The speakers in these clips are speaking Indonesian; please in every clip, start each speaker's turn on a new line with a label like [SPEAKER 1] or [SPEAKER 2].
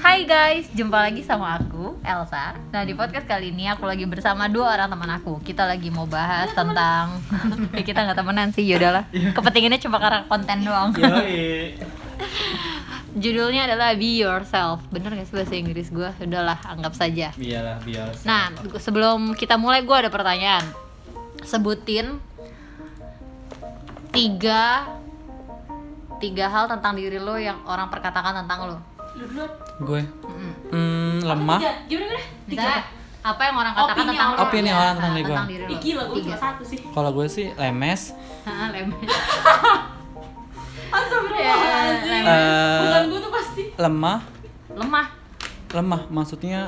[SPEAKER 1] Hai guys, jumpa lagi sama aku Elsa. Nah di podcast kali ini aku lagi bersama dua orang teman aku. Kita lagi mau bahas tentang ya, kita nggak temenan sih, yaudahlah. Kepentingannya cuma karena konten doang.
[SPEAKER 2] Yoi.
[SPEAKER 1] Judulnya adalah Be Yourself. Bener gak sih bahasa Inggris gue? Udahlah, anggap saja.
[SPEAKER 2] Biarlah, biar.
[SPEAKER 1] Nah gu- sebelum kita mulai gue ada pertanyaan. Sebutin tiga tiga hal tentang diri lo yang orang perkatakan tentang lo.
[SPEAKER 3] Lu dulu
[SPEAKER 2] gue
[SPEAKER 1] Mm-mm.
[SPEAKER 2] hmm, lemah.
[SPEAKER 3] tiga gimana gimana tiga
[SPEAKER 1] Misalnya apa yang orang katakan
[SPEAKER 3] Opini
[SPEAKER 1] tentang
[SPEAKER 3] orang.
[SPEAKER 1] lo?
[SPEAKER 2] Opini
[SPEAKER 1] Iya,
[SPEAKER 2] orang tentang diri
[SPEAKER 1] tentang
[SPEAKER 2] gua.
[SPEAKER 1] diri
[SPEAKER 3] Ih,
[SPEAKER 1] lo.
[SPEAKER 3] gila gue
[SPEAKER 1] Tiga.
[SPEAKER 3] cuma satu sih
[SPEAKER 2] Kalau gue sih lemes.
[SPEAKER 1] Hah, lemes.
[SPEAKER 4] Oh,
[SPEAKER 2] Eh.
[SPEAKER 3] Astagfirullahaladzim
[SPEAKER 1] Iya,
[SPEAKER 2] lemes.
[SPEAKER 3] bukan gue tuh pasti
[SPEAKER 2] Lemah,
[SPEAKER 1] Lemah.
[SPEAKER 2] lemah maksudnya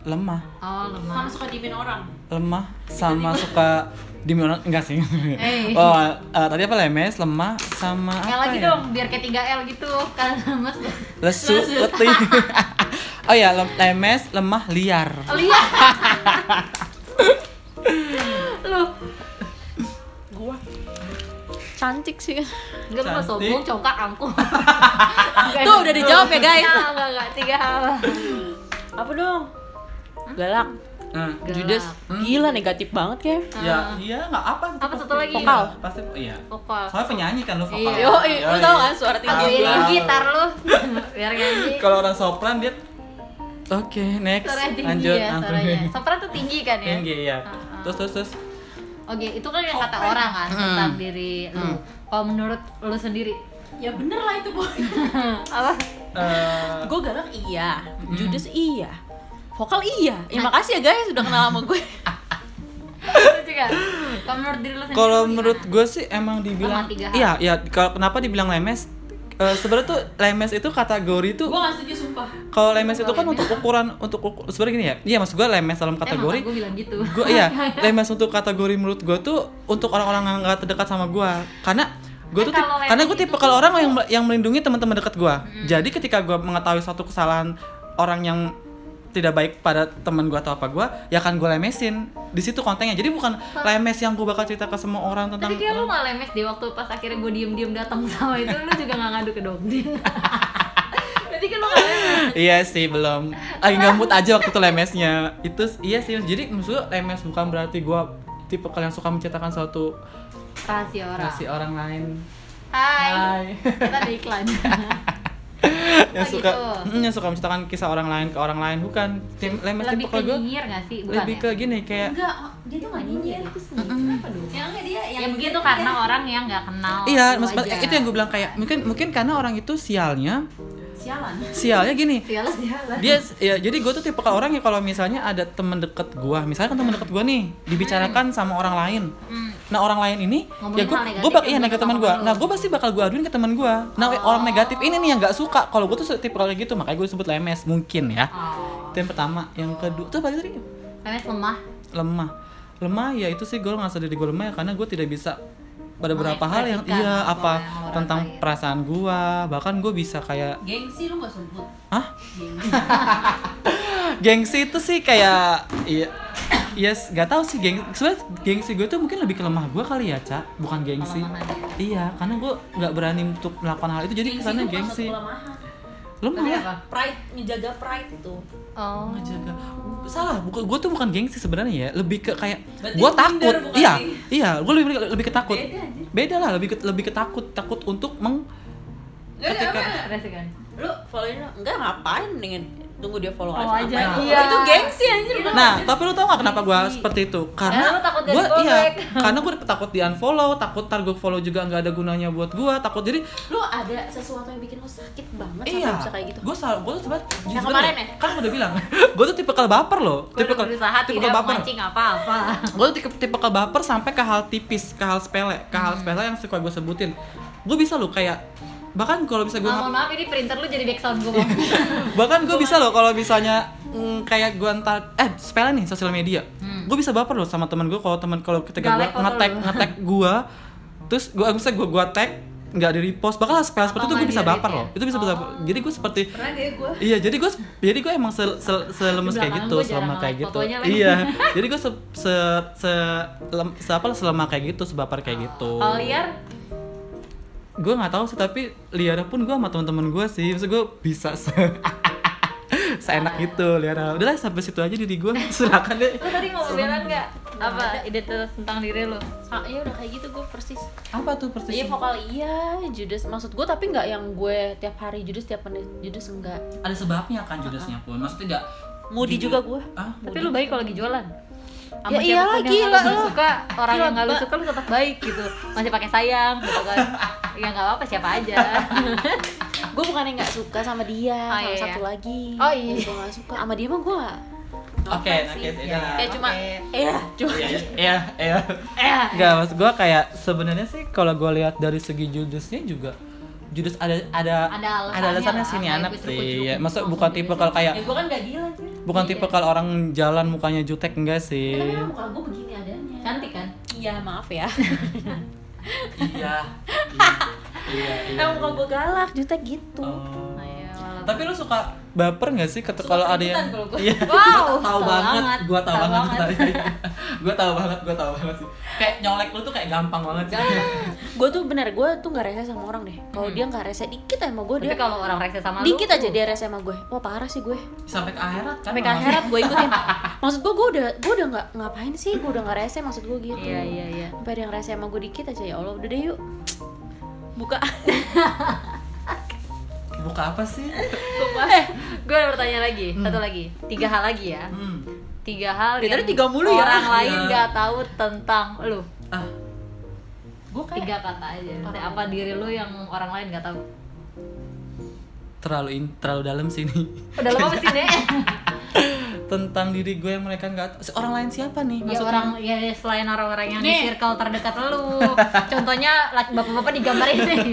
[SPEAKER 2] lemah,
[SPEAKER 1] Oh,
[SPEAKER 3] kamu
[SPEAKER 1] lemah.
[SPEAKER 3] suka diemin orang
[SPEAKER 2] lemah sama suka dimana enggak sih.
[SPEAKER 1] Eh.
[SPEAKER 2] oh, eh, tadi apa lemes, lemah sama
[SPEAKER 1] L
[SPEAKER 2] apa
[SPEAKER 1] lagi
[SPEAKER 2] ya?
[SPEAKER 1] dong, biar kayak 3 L gitu. Kan lemes.
[SPEAKER 2] Lesu, letih. oh ya, lem- lemes, lemah, liar.
[SPEAKER 1] Lihat. Lu
[SPEAKER 4] cantik sih
[SPEAKER 1] Enggak lu mah
[SPEAKER 2] Cantik.
[SPEAKER 1] sombong, congkak, angkuh
[SPEAKER 4] Tuh, udah dijawab ya, guys.
[SPEAKER 1] Enggak, enggak, enggak, tiga hal
[SPEAKER 4] apa dong galak
[SPEAKER 2] Nah,
[SPEAKER 1] Galak.
[SPEAKER 4] judes gila negatif banget ya
[SPEAKER 2] ya, iya nggak apa.
[SPEAKER 1] Eh. Apa satu lagi?
[SPEAKER 4] Vokal.
[SPEAKER 2] Pasti iya.
[SPEAKER 1] Vokal
[SPEAKER 2] Soalnya penyanyi kan lo vokal.
[SPEAKER 1] Iya.
[SPEAKER 3] Oh,
[SPEAKER 4] yo lu tau kan suara
[SPEAKER 1] Kalau
[SPEAKER 4] tinggi
[SPEAKER 1] ini
[SPEAKER 2] Tahu.
[SPEAKER 1] gitar lu Biar nyanyi
[SPEAKER 2] kalau orang sopran dia oke next
[SPEAKER 1] Suaranya tinggi
[SPEAKER 2] lanjut
[SPEAKER 1] ya,
[SPEAKER 2] langsung.
[SPEAKER 1] suaranya Sopran tuh tinggi kan ya?
[SPEAKER 2] tinggi ya terus terus terus
[SPEAKER 1] Oke, itu kan yang kata orang kan tentang diri lu. Kalau menurut lu sendiri
[SPEAKER 3] ya bener lah itu boy
[SPEAKER 1] apa?
[SPEAKER 2] eh,
[SPEAKER 4] gue galak iya
[SPEAKER 2] Hmm.
[SPEAKER 4] judes iya vokal iya ya makasih ya guys udah kenal sama gue
[SPEAKER 1] Lu juga. Kalau menurut diri lu sendiri.
[SPEAKER 2] kalau
[SPEAKER 1] lu gimana?
[SPEAKER 2] menurut gue sih emang dibilang
[SPEAKER 1] Lemah tiga hal.
[SPEAKER 2] iya iya kalau kenapa dibilang lemes Eh, sebenarnya tuh lemes itu kategori tuh
[SPEAKER 3] gue gak setuju sumpah
[SPEAKER 2] kalau lemes itu kan untuk ukuran untuk ukur, sebenarnya gini ya iya maksud gue lemes dalam kategori
[SPEAKER 1] gue bilang gitu.
[SPEAKER 2] gue iya lemes untuk kategori menurut gue tuh untuk orang-orang yang nggak terdekat sama gue karena gue tuh
[SPEAKER 1] Kan
[SPEAKER 2] tip-
[SPEAKER 1] kalau
[SPEAKER 2] karena
[SPEAKER 1] lemes
[SPEAKER 2] gue tipe
[SPEAKER 1] itu
[SPEAKER 2] kalau orang yang yang melindungi teman-teman dekat gue jadi ketika gue mengetahui suatu kesalahan orang yang tidak baik pada teman gue atau apa gue ya akan gue lemesin di situ kontennya jadi bukan lemes yang gue bakal cerita ke semua orang tentang
[SPEAKER 1] Tapi kayak lu gak lemes deh waktu pas akhirnya gue diem-diem datang sama itu lu juga gak ngadu ke Dogdin. Berarti kan lu gak lemes.
[SPEAKER 2] iya sih belum lagi ngamut aja waktu itu lemesnya itu s- iya sih jadi maksudnya lemes bukan berarti gue tipe kalian suka menceritakan suatu
[SPEAKER 1] Rahasia orang.
[SPEAKER 2] si orang lain
[SPEAKER 1] Hai.
[SPEAKER 2] Hai.
[SPEAKER 1] Kita ada iklan.
[SPEAKER 2] yang
[SPEAKER 1] Oh,
[SPEAKER 2] suka
[SPEAKER 1] gitu.
[SPEAKER 2] Mm, yang suka menceritakan kisah orang lain ke orang lain bukan tim lemes
[SPEAKER 1] Lebih ke
[SPEAKER 2] tipe kalau gue
[SPEAKER 1] nyinyir gak sih? Bukan
[SPEAKER 2] lebih
[SPEAKER 1] ya?
[SPEAKER 2] ke gini kayak
[SPEAKER 3] enggak oh, dia tuh gak
[SPEAKER 4] Iya,
[SPEAKER 3] nyinyir itu sendiri kenapa dong ya enggak dia
[SPEAKER 1] Ya mungkin itu karena orang yang gak kenal.
[SPEAKER 2] iya
[SPEAKER 1] lu
[SPEAKER 2] mas mas-
[SPEAKER 1] aja.
[SPEAKER 2] itu yang gue bilang kayak mungkin mungkin karena orang itu sialnya
[SPEAKER 3] sialan
[SPEAKER 2] sialnya gini
[SPEAKER 1] Sialah, sialah.
[SPEAKER 2] dia ya jadi gue tuh tipe orang yang kalau misalnya ada temen deket gue misalnya kan temen deket gue nih dibicarakan sama orang lain
[SPEAKER 1] Hmm.
[SPEAKER 2] nah orang lain ini
[SPEAKER 1] Ngomongin
[SPEAKER 2] ya gue
[SPEAKER 1] hal negatif
[SPEAKER 2] gue bak
[SPEAKER 1] yang Oh.
[SPEAKER 2] iya
[SPEAKER 1] dia
[SPEAKER 2] negatif
[SPEAKER 1] suka
[SPEAKER 2] teman gue
[SPEAKER 1] sama lu.
[SPEAKER 2] nah gue pasti bakal gue aduin ke teman gue nah orang negatif ini nih yang gak suka kalau gue tuh tipe kayak gitu makanya gue sebut lemes mungkin ya
[SPEAKER 1] Oh.
[SPEAKER 2] itu yang pertama yang kedua tuh apa tadi
[SPEAKER 1] Lemes lemah.
[SPEAKER 2] lemah lemah ya itu sih gue ngerasa diri gue lemah ya karena gue tidak bisa pada beberapa hal yang
[SPEAKER 1] Mengekspresikan
[SPEAKER 2] iya
[SPEAKER 1] Oh, apa
[SPEAKER 2] apa
[SPEAKER 1] yang orang
[SPEAKER 2] tentang
[SPEAKER 1] lain.
[SPEAKER 2] perasaan gue bahkan gue bisa kayak
[SPEAKER 3] gengsi lu gak sebut
[SPEAKER 2] Hah?
[SPEAKER 3] gengsi
[SPEAKER 2] gengsi itu sih kayak iya yes gak tau sih geng sebenarnya gengsi gue tuh mungkin lebih ke lemah gue kali ya cak bukan gengsi
[SPEAKER 1] Kelemahan ya.
[SPEAKER 2] iya karena gue nggak berani untuk melakukan hal itu jadi
[SPEAKER 3] Gengsi
[SPEAKER 2] kesannya
[SPEAKER 3] itu bukan
[SPEAKER 2] gengsi
[SPEAKER 3] suatu kelemahan.
[SPEAKER 2] lemah
[SPEAKER 1] Tapi
[SPEAKER 2] lah
[SPEAKER 1] apa?
[SPEAKER 4] pride menjaga pride itu
[SPEAKER 1] Oh.
[SPEAKER 2] Ngejaga. salah bukan gue tuh bukan gengsi sebenarnya ya lebih ke kayak
[SPEAKER 3] Berarti
[SPEAKER 2] gue
[SPEAKER 3] lu
[SPEAKER 2] takut
[SPEAKER 3] minder bukan
[SPEAKER 2] iya
[SPEAKER 3] sih?
[SPEAKER 2] iya gue lebih lebih ke takut
[SPEAKER 3] Beda aja.
[SPEAKER 2] beda lah lebih ke, lebih ke takut takut untuk meng
[SPEAKER 3] Enggak, enggak,
[SPEAKER 2] Ketika-
[SPEAKER 3] enggak.
[SPEAKER 1] Terus kan.
[SPEAKER 4] lu followin lu- enggak ngapain dengan tunggu dia
[SPEAKER 1] Oh,
[SPEAKER 4] follow aja,
[SPEAKER 1] aja.
[SPEAKER 4] ngapain lu?
[SPEAKER 1] Iya.
[SPEAKER 4] itu gengsi anjir bener.
[SPEAKER 2] nah tapi lu tau gak kenapa gue seperti itu
[SPEAKER 1] Karena
[SPEAKER 2] karena
[SPEAKER 1] lu takut
[SPEAKER 2] gue
[SPEAKER 1] dari
[SPEAKER 2] iya
[SPEAKER 1] fallback.
[SPEAKER 2] karena gue takut di unfollow takut target follow juga nggak ada gunanya buat gue takut jadi
[SPEAKER 4] lu ada sesuatu yang bikin lu sakit banget sampai
[SPEAKER 2] iya
[SPEAKER 4] bisa kayak gitu
[SPEAKER 2] gue sal gue tuh sebenarnya
[SPEAKER 4] Yang
[SPEAKER 2] sebenarnya-
[SPEAKER 4] kemarin ya?
[SPEAKER 2] kan gue udah bilang gue tuh tipikal baper loh
[SPEAKER 1] Gue udah berusaha tidak
[SPEAKER 2] baper
[SPEAKER 1] memancing apa-apa.
[SPEAKER 2] gue tipe tipe ke baper sampai ke hal tipis ke hal sepele ke hal
[SPEAKER 1] Hmm.
[SPEAKER 2] sepele yang suka gue sebutin gue bisa loh kayak bahkan kalau bisa gue
[SPEAKER 1] Ah, mohon maaf ini printer lu jadi background gue.
[SPEAKER 2] bahkan gue bisa loh kalau misalnya mm, kayak gue ntar eh sepele nih sosial media gue bisa baper loh sama temen gue kalau temen kalau ketika
[SPEAKER 1] Hmm. Galak
[SPEAKER 2] gue
[SPEAKER 1] foto
[SPEAKER 2] ngetek
[SPEAKER 1] lu.
[SPEAKER 2] ngetek gue terus gue misalnya gue gue tag nggak di repost bahkan hal sepele seperti itu gue
[SPEAKER 1] nggak
[SPEAKER 2] bisa
[SPEAKER 1] di-read
[SPEAKER 2] baper
[SPEAKER 1] ya?
[SPEAKER 2] loh itu bisa baper jadi gue seperti
[SPEAKER 3] pernah deh gue
[SPEAKER 2] iya jadi gue jadi gue emang se, se- selemes
[SPEAKER 1] Di
[SPEAKER 2] kayak
[SPEAKER 1] belakang
[SPEAKER 2] gitu
[SPEAKER 1] gue jarang
[SPEAKER 2] selama kayak
[SPEAKER 1] nge-like
[SPEAKER 2] gitu
[SPEAKER 1] fotonya lagi.
[SPEAKER 2] iya jadi gue se se
[SPEAKER 4] Oh.
[SPEAKER 2] se, lem- se apa lah, selama kayak gitu sebapar kayak gitu
[SPEAKER 1] Kalau liar
[SPEAKER 2] gue nggak tahu sih tapi liara pun gue sama teman-teman gue sih maksud gue bisa se seenak gitu liara udahlah sampai situ aja diri gue silakan deh
[SPEAKER 1] Lo tadi mau pembelaan nggak? Apa identitas tentang diri lo?
[SPEAKER 4] Ah, iya udah kayak gitu gue persis.
[SPEAKER 2] apa tuh persis
[SPEAKER 4] Iya vokal iya, Judas maksud gue tapi nggak yang gue tiap hari Judas tiap menit Judas enggak.
[SPEAKER 2] ada sebabnya kan judasnya pun maksudnya tidak
[SPEAKER 4] Moody
[SPEAKER 2] Jujur.
[SPEAKER 4] juga gue.
[SPEAKER 2] ah
[SPEAKER 1] Tapi lu baik kalau lagi jualan. Sama
[SPEAKER 4] Ya iyalah,
[SPEAKER 1] siapapun yang
[SPEAKER 4] gila
[SPEAKER 1] nggak lu
[SPEAKER 4] lu.
[SPEAKER 1] suka, orang
[SPEAKER 4] Gila,
[SPEAKER 1] yang nggak lu
[SPEAKER 4] Mbak.
[SPEAKER 1] suka lu tetap baik gitu. Masih pakai sayang gitu kan. ya nggak apa-apa siapa aja.
[SPEAKER 4] gue Ah, bukan yang nggak suka sama dia,
[SPEAKER 1] Oh,
[SPEAKER 4] sama
[SPEAKER 1] iya, iya.
[SPEAKER 4] satu lagi.
[SPEAKER 1] Oh, iya.
[SPEAKER 4] Gue nggak suka sama dia mah gue nggak.
[SPEAKER 2] oke oke
[SPEAKER 1] Ya,
[SPEAKER 2] udah.
[SPEAKER 4] Kayak cuma,
[SPEAKER 1] Oke.
[SPEAKER 4] eh, cuma.
[SPEAKER 2] Iya, iya.
[SPEAKER 1] Eh,
[SPEAKER 2] Enggak, maksud gue kayak sebenarnya sih kalau gue lihat dari segi judusnya juga judes ada ada
[SPEAKER 1] Ada alasannya
[SPEAKER 2] alasannya
[SPEAKER 1] lah,
[SPEAKER 2] sini
[SPEAKER 1] kayak
[SPEAKER 2] anak
[SPEAKER 1] gue
[SPEAKER 2] sih.
[SPEAKER 1] jeruk-jeruk
[SPEAKER 2] Ya, masa
[SPEAKER 1] langsung
[SPEAKER 2] bukan
[SPEAKER 1] gitu.
[SPEAKER 2] tipe kalau
[SPEAKER 3] Ya
[SPEAKER 2] kayak
[SPEAKER 3] gue kan gak gila tuh.
[SPEAKER 2] bukan
[SPEAKER 1] Iya.
[SPEAKER 2] tipe kalau orang jalan mukanya jutek enggak
[SPEAKER 3] Ya,
[SPEAKER 2] sih?
[SPEAKER 3] Tapi emang muka gue begini adanya.
[SPEAKER 1] cantik kan?
[SPEAKER 4] Iya maaf ya.
[SPEAKER 2] Iya. Iya. Oh.
[SPEAKER 4] Emang muka gue galak, jutek gitu.
[SPEAKER 1] Iya, walaupun-
[SPEAKER 2] Tapi lu suka baper gak sih ketika kalau ada yang
[SPEAKER 3] keringetan kalau gua.
[SPEAKER 2] Iya.
[SPEAKER 1] Wow,
[SPEAKER 2] Gua tahu
[SPEAKER 1] tahu
[SPEAKER 2] banget,
[SPEAKER 1] banget,
[SPEAKER 2] gua tahu
[SPEAKER 1] tahu
[SPEAKER 2] banget.
[SPEAKER 1] banget.
[SPEAKER 2] Gua tahu banget, gua tahu banget sih. Kayak nyolek lu tuh kayak gampang banget sih.
[SPEAKER 4] Gue tuh bener gue tuh nggak rese sama orang deh. Kalau dia nggak rese dikit aja sama gue
[SPEAKER 1] Tapi
[SPEAKER 4] dia.
[SPEAKER 1] kalau orang rese sama lu
[SPEAKER 4] Dikit aja dia rese sama gue. Wah parah sih gue.
[SPEAKER 2] Sampai ke akhirat kan.
[SPEAKER 4] Sampai ke
[SPEAKER 2] orang.
[SPEAKER 4] akhirat gue ikutin. Maksud gue gue udah gue udah nggak ngapain sih? Gue udah nggak rese maksud gue gitu.
[SPEAKER 1] Iya, iya, iya.
[SPEAKER 4] Sampai ada yang rese sama gue dikit aja ya Allah udah deh yuk buka.
[SPEAKER 2] Buka apa sih?
[SPEAKER 1] Eh, gue ada pertanyaan lagi,
[SPEAKER 4] Hmm.
[SPEAKER 1] satu lagi, tiga hal lagi ya,
[SPEAKER 2] Hmm.
[SPEAKER 1] tiga hal yang
[SPEAKER 4] Dari tadi tiga mulu ya.
[SPEAKER 1] orang
[SPEAKER 2] Iya.
[SPEAKER 1] lain nggak tahu tentang lu,
[SPEAKER 2] Ah,
[SPEAKER 4] Gue
[SPEAKER 1] tiga kata aja, Maksudnya apa diri lu yang orang lain nggak tahu?
[SPEAKER 2] terlalu in, terlalu dalam sini
[SPEAKER 1] Udah lama sih nih,
[SPEAKER 2] tentang diri gue yang mereka nggak tahu. orang lain siapa nih
[SPEAKER 1] ya
[SPEAKER 2] maksudnya
[SPEAKER 1] orang ya selain orang-orang yang
[SPEAKER 4] Nih.
[SPEAKER 1] di circle terdekat lu, contohnya laki- bapak-bapak digambarin nih.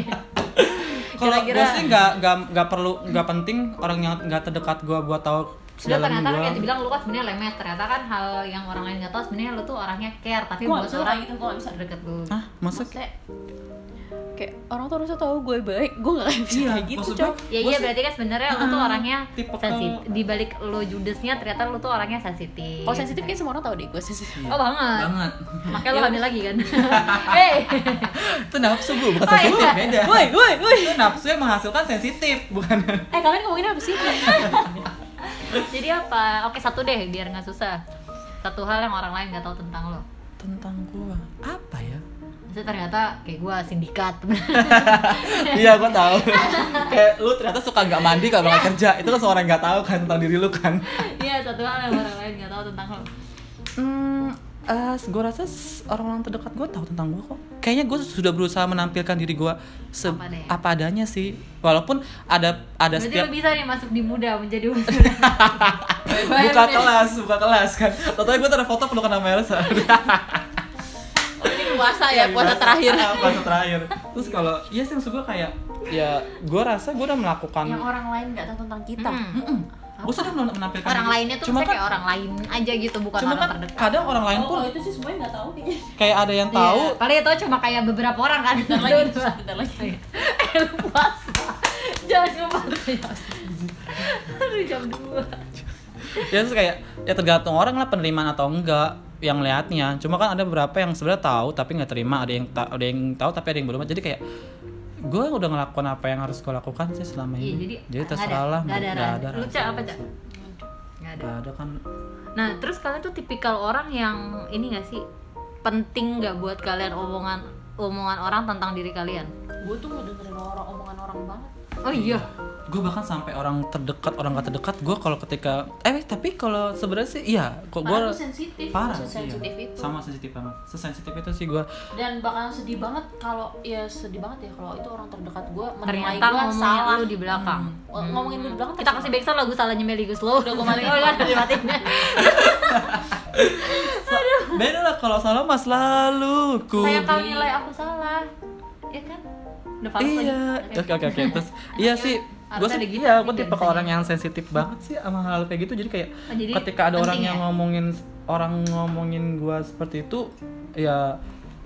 [SPEAKER 2] kalau gue
[SPEAKER 1] kira-kira-
[SPEAKER 2] sih nggak nggak nggak perlu nggak penting orang yang nggak terdekat gue buat tahu
[SPEAKER 1] Udah
[SPEAKER 2] segala
[SPEAKER 1] ternyata kan kayak
[SPEAKER 2] gue
[SPEAKER 1] dibilang lu kan sebenarnya lemes, ternyata kan hal yang orang lain nggak tahu sebenarnya lu tuh orangnya care, tapi
[SPEAKER 3] Gua
[SPEAKER 1] buat
[SPEAKER 3] nggak bisa
[SPEAKER 1] orang
[SPEAKER 3] kayak gitu, gua nggak bisa.
[SPEAKER 1] terdekat lu.
[SPEAKER 4] Iya.
[SPEAKER 2] Hah, maksud
[SPEAKER 3] Maksudnya,
[SPEAKER 4] kayak orang tuh harusnya tahu gue baik gue nggak kayak bisa
[SPEAKER 2] Iya,
[SPEAKER 4] kayak gitu
[SPEAKER 2] maksud
[SPEAKER 4] coy
[SPEAKER 1] Ya
[SPEAKER 2] gue- Gua
[SPEAKER 1] iya
[SPEAKER 2] sih-
[SPEAKER 1] berarti kan sebenarnya lu tuh
[SPEAKER 2] Ah,
[SPEAKER 1] orangnya
[SPEAKER 2] tipe ke-
[SPEAKER 1] sensitif. Di balik lu judesnya ternyata lu tuh orangnya sensitif.
[SPEAKER 4] kalau sensitif kayak semua orang tahu deh gue sensitif
[SPEAKER 1] Oh banget.
[SPEAKER 2] banget
[SPEAKER 1] Makanya lu hamil lagi kan. Hei.
[SPEAKER 2] itu nafsu bu bukan
[SPEAKER 1] Oh, iya.
[SPEAKER 2] sensitif beda
[SPEAKER 4] woi woi woi
[SPEAKER 2] itu nafsu yang menghasilkan sensitif bukan
[SPEAKER 4] eh kalian ngomongin apa sih
[SPEAKER 1] Jadi apa? Oke satu deh biar nggak susah. Satu hal yang orang lain nggak tahu tentang lo.
[SPEAKER 2] tentang gue apa ya
[SPEAKER 1] Maksudnya ternyata kayak gua sindikat.
[SPEAKER 2] iya gue tahu kayak lu ternyata suka nggak mandi kalau nggak kerja itu kan seorang nggak tahu kan tentang diri lu kan
[SPEAKER 1] Iya satu hal yang orang lain nggak tahu tentang lo.
[SPEAKER 2] Hmm, eh gue rasa s- orang-orang terdekat gue tahu tentang gue kok. Kayaknya gue sudah berusaha menampilkan diri gue se-
[SPEAKER 1] Apa adanya.
[SPEAKER 2] apa adanya sih. Walaupun ada ada
[SPEAKER 1] Berarti
[SPEAKER 2] setiap
[SPEAKER 1] lu bisa nih masuk di muda menjadi muda.
[SPEAKER 2] buka kelas, buka kelas kan. Totalnya gue tuh ada foto pelukan sama Elsa.
[SPEAKER 4] ini puasa
[SPEAKER 1] Iya,
[SPEAKER 4] ya puasa terakhir
[SPEAKER 2] Ah, puasa terakhir. Terus kalau iya sih maksud gue kayak ya gue rasa gue udah melakukan
[SPEAKER 4] yang orang lain nggak tahu tentang kita
[SPEAKER 1] Hmm.
[SPEAKER 2] gue sudah men- menampilkan
[SPEAKER 1] Orang
[SPEAKER 2] diri.
[SPEAKER 1] lainnya tuh
[SPEAKER 2] cuma
[SPEAKER 1] maksudnya
[SPEAKER 2] kan
[SPEAKER 1] kayak orang lain aja gitu bukan
[SPEAKER 2] cuma
[SPEAKER 1] orang
[SPEAKER 2] kan
[SPEAKER 1] terdekat. oh.
[SPEAKER 2] kadang orang lain
[SPEAKER 3] oh,
[SPEAKER 2] pun
[SPEAKER 3] kalau itu sih semuanya nggak tahu kayaknya.
[SPEAKER 2] kayak ada yang tahu
[SPEAKER 1] Iya, paling itu cuma kayak beberapa orang kan.
[SPEAKER 4] bentar lagi bentar lagi
[SPEAKER 1] eh lu puasa jangan lupa aduh jam 2
[SPEAKER 2] ya terus kayak ya tergantung orang lah penerimaan atau enggak yang liatnya cuma kan ada beberapa yang sebenarnya tahu tapi nggak terima ada yang ta- ada yang tahu tapi ada yang belum jadi kayak gue udah ngelakuin apa yang harus gue lakukan sih selama
[SPEAKER 1] iya jadi
[SPEAKER 2] ini jadi
[SPEAKER 1] nggak
[SPEAKER 2] terserah
[SPEAKER 1] ada,
[SPEAKER 2] lah
[SPEAKER 1] nggak ada,
[SPEAKER 2] nggak
[SPEAKER 1] ada.
[SPEAKER 2] ada
[SPEAKER 1] lu cak apa cak nggak ada
[SPEAKER 2] nggak ada kan
[SPEAKER 1] nah terus kalian tuh tipikal orang yang ini nggak sih penting nggak buat kalian omongan omongan orang tentang diri kalian
[SPEAKER 4] gue tuh nggak dengerin orang omongan orang banget
[SPEAKER 1] oh iya
[SPEAKER 2] gue bahkan sampai orang terdekat orang gak terdekat gue kalau ketika eh tapi kalau sebenarnya sih iya kok gue
[SPEAKER 4] Karena gue sensitif
[SPEAKER 2] parah
[SPEAKER 4] gue sensitif
[SPEAKER 2] iya.
[SPEAKER 4] itu
[SPEAKER 2] sama sensitif banget sesensitif itu sih gue
[SPEAKER 4] dan bakal sedih banget kalau ya sedih banget ya kalau itu orang terdekat gue menilai
[SPEAKER 1] ternyata
[SPEAKER 4] gue
[SPEAKER 1] ngomongin
[SPEAKER 4] salah
[SPEAKER 1] lu di belakang
[SPEAKER 4] Ng- ngomongin lu di belakang
[SPEAKER 1] kita kasih backsound lagu salahnya Melly Guslow udah gue matiin kan
[SPEAKER 2] beda lah kalau salah mas lalu ku
[SPEAKER 1] saya kau nilai aku salah ya kan udah kan? palsu lagi.
[SPEAKER 2] iya oke oke oke terus iya sih gue
[SPEAKER 1] harusnya
[SPEAKER 2] sih
[SPEAKER 1] ada gitu
[SPEAKER 2] iya
[SPEAKER 1] sih
[SPEAKER 2] gue tipe
[SPEAKER 1] biasanya.
[SPEAKER 2] orang yang sensitif banget sih sama hal kayak gitu jadi kayak
[SPEAKER 1] Oh, jadi
[SPEAKER 2] ketika ada orang
[SPEAKER 1] penting
[SPEAKER 2] yang
[SPEAKER 1] ya?
[SPEAKER 2] ngomongin orang ngomongin gue seperti itu ya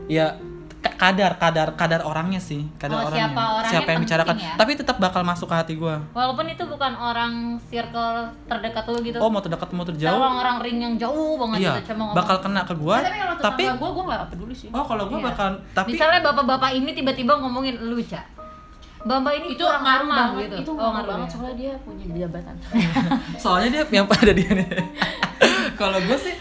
[SPEAKER 2] ya Ka- kadar kadar kadar orangnya sih
[SPEAKER 1] Oh,
[SPEAKER 2] kadar orangnya
[SPEAKER 1] siapa orangnya
[SPEAKER 2] siapa yang
[SPEAKER 1] penting
[SPEAKER 2] bicarakan
[SPEAKER 1] ya?
[SPEAKER 2] tapi tetap bakal masuk ke hati gua
[SPEAKER 1] Walaupun itu bukan orang circle terdekat lu gitu.
[SPEAKER 2] oh mau terdekat mau
[SPEAKER 1] Kalau
[SPEAKER 2] terjauh
[SPEAKER 1] orang-orang ring yang jauh banget
[SPEAKER 2] iya
[SPEAKER 1] gitu cuma ngomong.
[SPEAKER 2] bakal kena ke gua
[SPEAKER 4] Nah, tapi kalau
[SPEAKER 2] tapi
[SPEAKER 4] tetangga gue, gue gak peduli sih
[SPEAKER 2] oh kalau gua
[SPEAKER 1] Iya.
[SPEAKER 2] bakal tapi
[SPEAKER 1] Misalnya bapak-bapak ini tiba-tiba ngomongin lu, Ca. Bapak ini
[SPEAKER 4] itu
[SPEAKER 1] kurang
[SPEAKER 4] ngaruh
[SPEAKER 1] ramah
[SPEAKER 4] banget
[SPEAKER 1] gitu.
[SPEAKER 4] itu
[SPEAKER 1] Oh,
[SPEAKER 4] ngaruh
[SPEAKER 1] ngaruh
[SPEAKER 4] banget
[SPEAKER 1] ya.
[SPEAKER 4] soalnya dia punya jabatan
[SPEAKER 2] soalnya dia yang pada dia nih kalau gua sih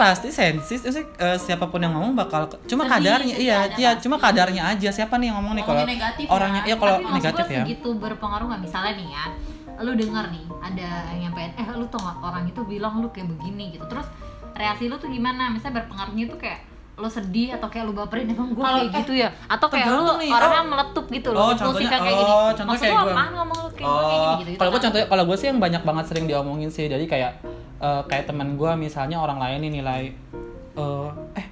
[SPEAKER 2] pasti sensis maksudnya, eh, siapapun yang ngomong bakal ke- cuma
[SPEAKER 4] Sedih,
[SPEAKER 2] kadarnya
[SPEAKER 4] sedih
[SPEAKER 2] iya
[SPEAKER 4] ada
[SPEAKER 2] iya
[SPEAKER 4] pasti.
[SPEAKER 2] cuma kadarnya aja siapa nih yang ngomong nih kalau
[SPEAKER 4] Ngomongin negatif ya.
[SPEAKER 2] orangnya iya kalau
[SPEAKER 1] Tapi maksud
[SPEAKER 2] negatif
[SPEAKER 1] gua
[SPEAKER 2] ya
[SPEAKER 1] segitu berpengaruh nggak misalnya nih ya lu dengar nih ada yang nyampein eh lu tau nggak orang itu bilang lu kayak begini gitu terus reaksi lu tuh gimana misalnya berpengaruhnya tuh kayak lo sedih atau kayak lu baperin emang gue
[SPEAKER 4] Kalau-
[SPEAKER 1] kayak gitu ya atau kayak lu
[SPEAKER 2] tergantung nih.
[SPEAKER 1] orangnya
[SPEAKER 2] Oh.
[SPEAKER 1] meletup gitu loh
[SPEAKER 2] Oh,
[SPEAKER 1] impulsifnya
[SPEAKER 2] contohnya-
[SPEAKER 1] kayak
[SPEAKER 2] oh,
[SPEAKER 1] gini
[SPEAKER 2] contohnya
[SPEAKER 1] maksud
[SPEAKER 2] kayak
[SPEAKER 1] lu
[SPEAKER 2] gua. Oh,
[SPEAKER 1] apaan ngomong lu kayak gue kayak gini gitu, gitu
[SPEAKER 2] kalau gue contohnya kalau gue sih yang banyak banget sering diomongin sih jadi kayak eh, kayak teman gue misalnya orang lain nih nilai eh, eh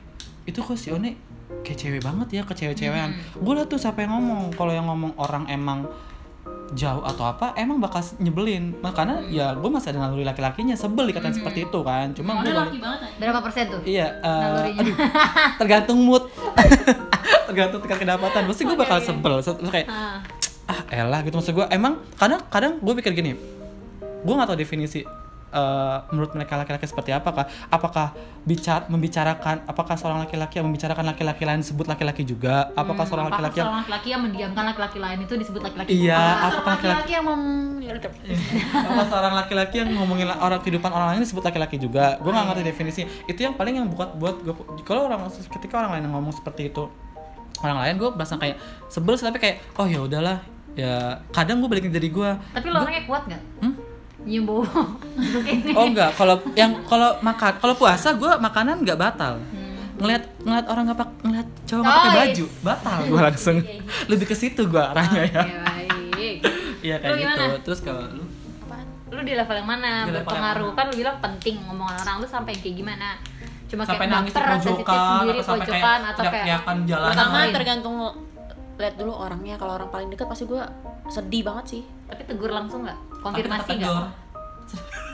[SPEAKER 2] itu kok si One kayak cewek banget ya ke cewek-cewean
[SPEAKER 1] Hmm.
[SPEAKER 2] gue liat tuh siapa yang ngomong kalau yang ngomong orang emang jauh atau apa emang bakal nyebelin makanya
[SPEAKER 1] Hmm.
[SPEAKER 2] ya gue masih ada naluri laki-lakinya sebel dikatain seperti itu kan cuma gue
[SPEAKER 4] laki banget aja
[SPEAKER 1] berapa persen tuh
[SPEAKER 2] iya eh,
[SPEAKER 1] Nalurinya.
[SPEAKER 2] aduh tergantung mood tergantung tingkat kedapatan
[SPEAKER 1] Oh, iya,
[SPEAKER 2] pasti gue bakal sebel terus kayak
[SPEAKER 4] Ah.
[SPEAKER 2] ah elah gitu maksud gue emang kadang kadang gue pikir gini gue nggak tahu definisi eh, menurut mereka laki-laki seperti apakah apakah bicara membicarakan apakah seorang laki-laki yang membicarakan laki-laki lain disebut laki-laki juga apakah seorang
[SPEAKER 1] Hmm, Apakah
[SPEAKER 2] laki-laki yang
[SPEAKER 1] seorang laki-laki yang mendiamkan laki-laki lain itu disebut laki-laki
[SPEAKER 2] iya
[SPEAKER 1] Apakah
[SPEAKER 2] apakah laki-laki
[SPEAKER 4] laki yang ya mem
[SPEAKER 2] apa seorang laki-laki yang ngomongin la- orang kehidupan orang lain disebut laki-laki juga gue nggak ngerti definisi itu yang paling yang buat buat gue kalau orang ketika orang lain yang ngomong seperti itu orang lain gue berasa kayak sebel sih, tapi kayak oh ya udahlah ya kadang gue balikin jadi gue
[SPEAKER 1] tapi lo orangnya kuat nggak
[SPEAKER 2] Hmm?
[SPEAKER 1] nyium bau Duduk ini
[SPEAKER 2] Oh enggak, kalau yang kalau makan, kalau puasa gue makanan nggak batal.
[SPEAKER 1] Hmm.
[SPEAKER 2] Ngeliat ngeliat orang nggak pak ngeliat cowok nggak pakai
[SPEAKER 1] Nice.
[SPEAKER 2] baju, batal gue langsung.
[SPEAKER 1] Iya,
[SPEAKER 2] Lebih ke situ gue arahnya ya.
[SPEAKER 1] Oke, baik
[SPEAKER 2] Iya kayak
[SPEAKER 1] Lu
[SPEAKER 2] gitu.
[SPEAKER 1] gimana?
[SPEAKER 2] Terus kalau lu
[SPEAKER 1] lu di level yang mana
[SPEAKER 2] Di level yang
[SPEAKER 1] berpengaruh
[SPEAKER 2] mana?
[SPEAKER 1] kan lu bilang penting ngomongan orang lu sampai kayak gimana cuma
[SPEAKER 2] sampai
[SPEAKER 1] kayak
[SPEAKER 2] nangis di
[SPEAKER 1] baper, sensitif
[SPEAKER 2] pojokan
[SPEAKER 1] sendiri
[SPEAKER 2] atau sampai
[SPEAKER 1] pojokan,
[SPEAKER 2] kayak
[SPEAKER 1] atau kayak
[SPEAKER 2] teriak-teriakan jalanan.
[SPEAKER 4] pertama
[SPEAKER 1] Lain.
[SPEAKER 4] tergantung lihat dulu orangnya kalau orang paling dekat pasti gue sedih banget sih
[SPEAKER 1] tapi tegur langsung nggak konfirmasi
[SPEAKER 2] Tapi tetap
[SPEAKER 1] nggak
[SPEAKER 2] tegur.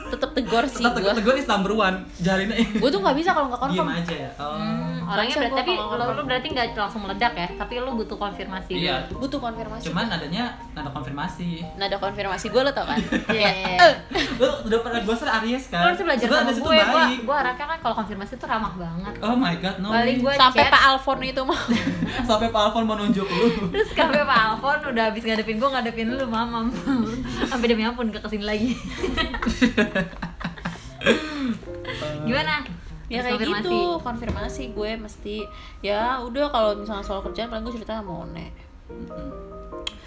[SPEAKER 4] tetep tegur sih
[SPEAKER 2] Tetap tegur,
[SPEAKER 4] gue
[SPEAKER 2] tegur is number one. Jarinya
[SPEAKER 4] gue tuh nggak bisa kalau nggak
[SPEAKER 2] diem
[SPEAKER 4] konfirm
[SPEAKER 2] aja ya. Oh.
[SPEAKER 1] Hmm, orangnya berarti
[SPEAKER 4] Bangsa gua
[SPEAKER 1] tapi
[SPEAKER 4] kalau
[SPEAKER 1] lu,
[SPEAKER 4] ngomong.
[SPEAKER 1] lu berarti nggak langsung meledak ya tapi lu butuh konfirmasi
[SPEAKER 2] Iya.
[SPEAKER 1] dulu.
[SPEAKER 4] butuh konfirmasi
[SPEAKER 2] Cuman adanya nada konfirmasi.
[SPEAKER 4] nada konfirmasi gue lo tau kan
[SPEAKER 1] Iya,
[SPEAKER 4] Kayak,
[SPEAKER 1] iya, iya.
[SPEAKER 4] "Eh,
[SPEAKER 2] Lu udah pernah gue ser Aries
[SPEAKER 1] lu
[SPEAKER 2] kan?
[SPEAKER 1] harus belajar
[SPEAKER 2] Sebenarnya
[SPEAKER 1] sama ya,
[SPEAKER 2] ada situ
[SPEAKER 1] gue gue
[SPEAKER 2] baik.
[SPEAKER 1] gue arahnya kan kalau konfirmasi tuh ramah banget
[SPEAKER 2] Oh my god, no.
[SPEAKER 1] paling gue
[SPEAKER 4] sampai
[SPEAKER 1] chat
[SPEAKER 4] Pak Alfon itu mau
[SPEAKER 2] Sampai Pak Alfon mau nunjuk lu.
[SPEAKER 1] terus sampai Pak Alfon udah habis ngadepin gue ngadepin lu mamam sampai demi ampun gak kesini lagi gimana
[SPEAKER 4] ya
[SPEAKER 1] Terus
[SPEAKER 4] kayak
[SPEAKER 1] konfirmasi.
[SPEAKER 4] gitu konfirmasi gue mesti ya udah kalau misalnya soal kerjaan paling gue cerita sama One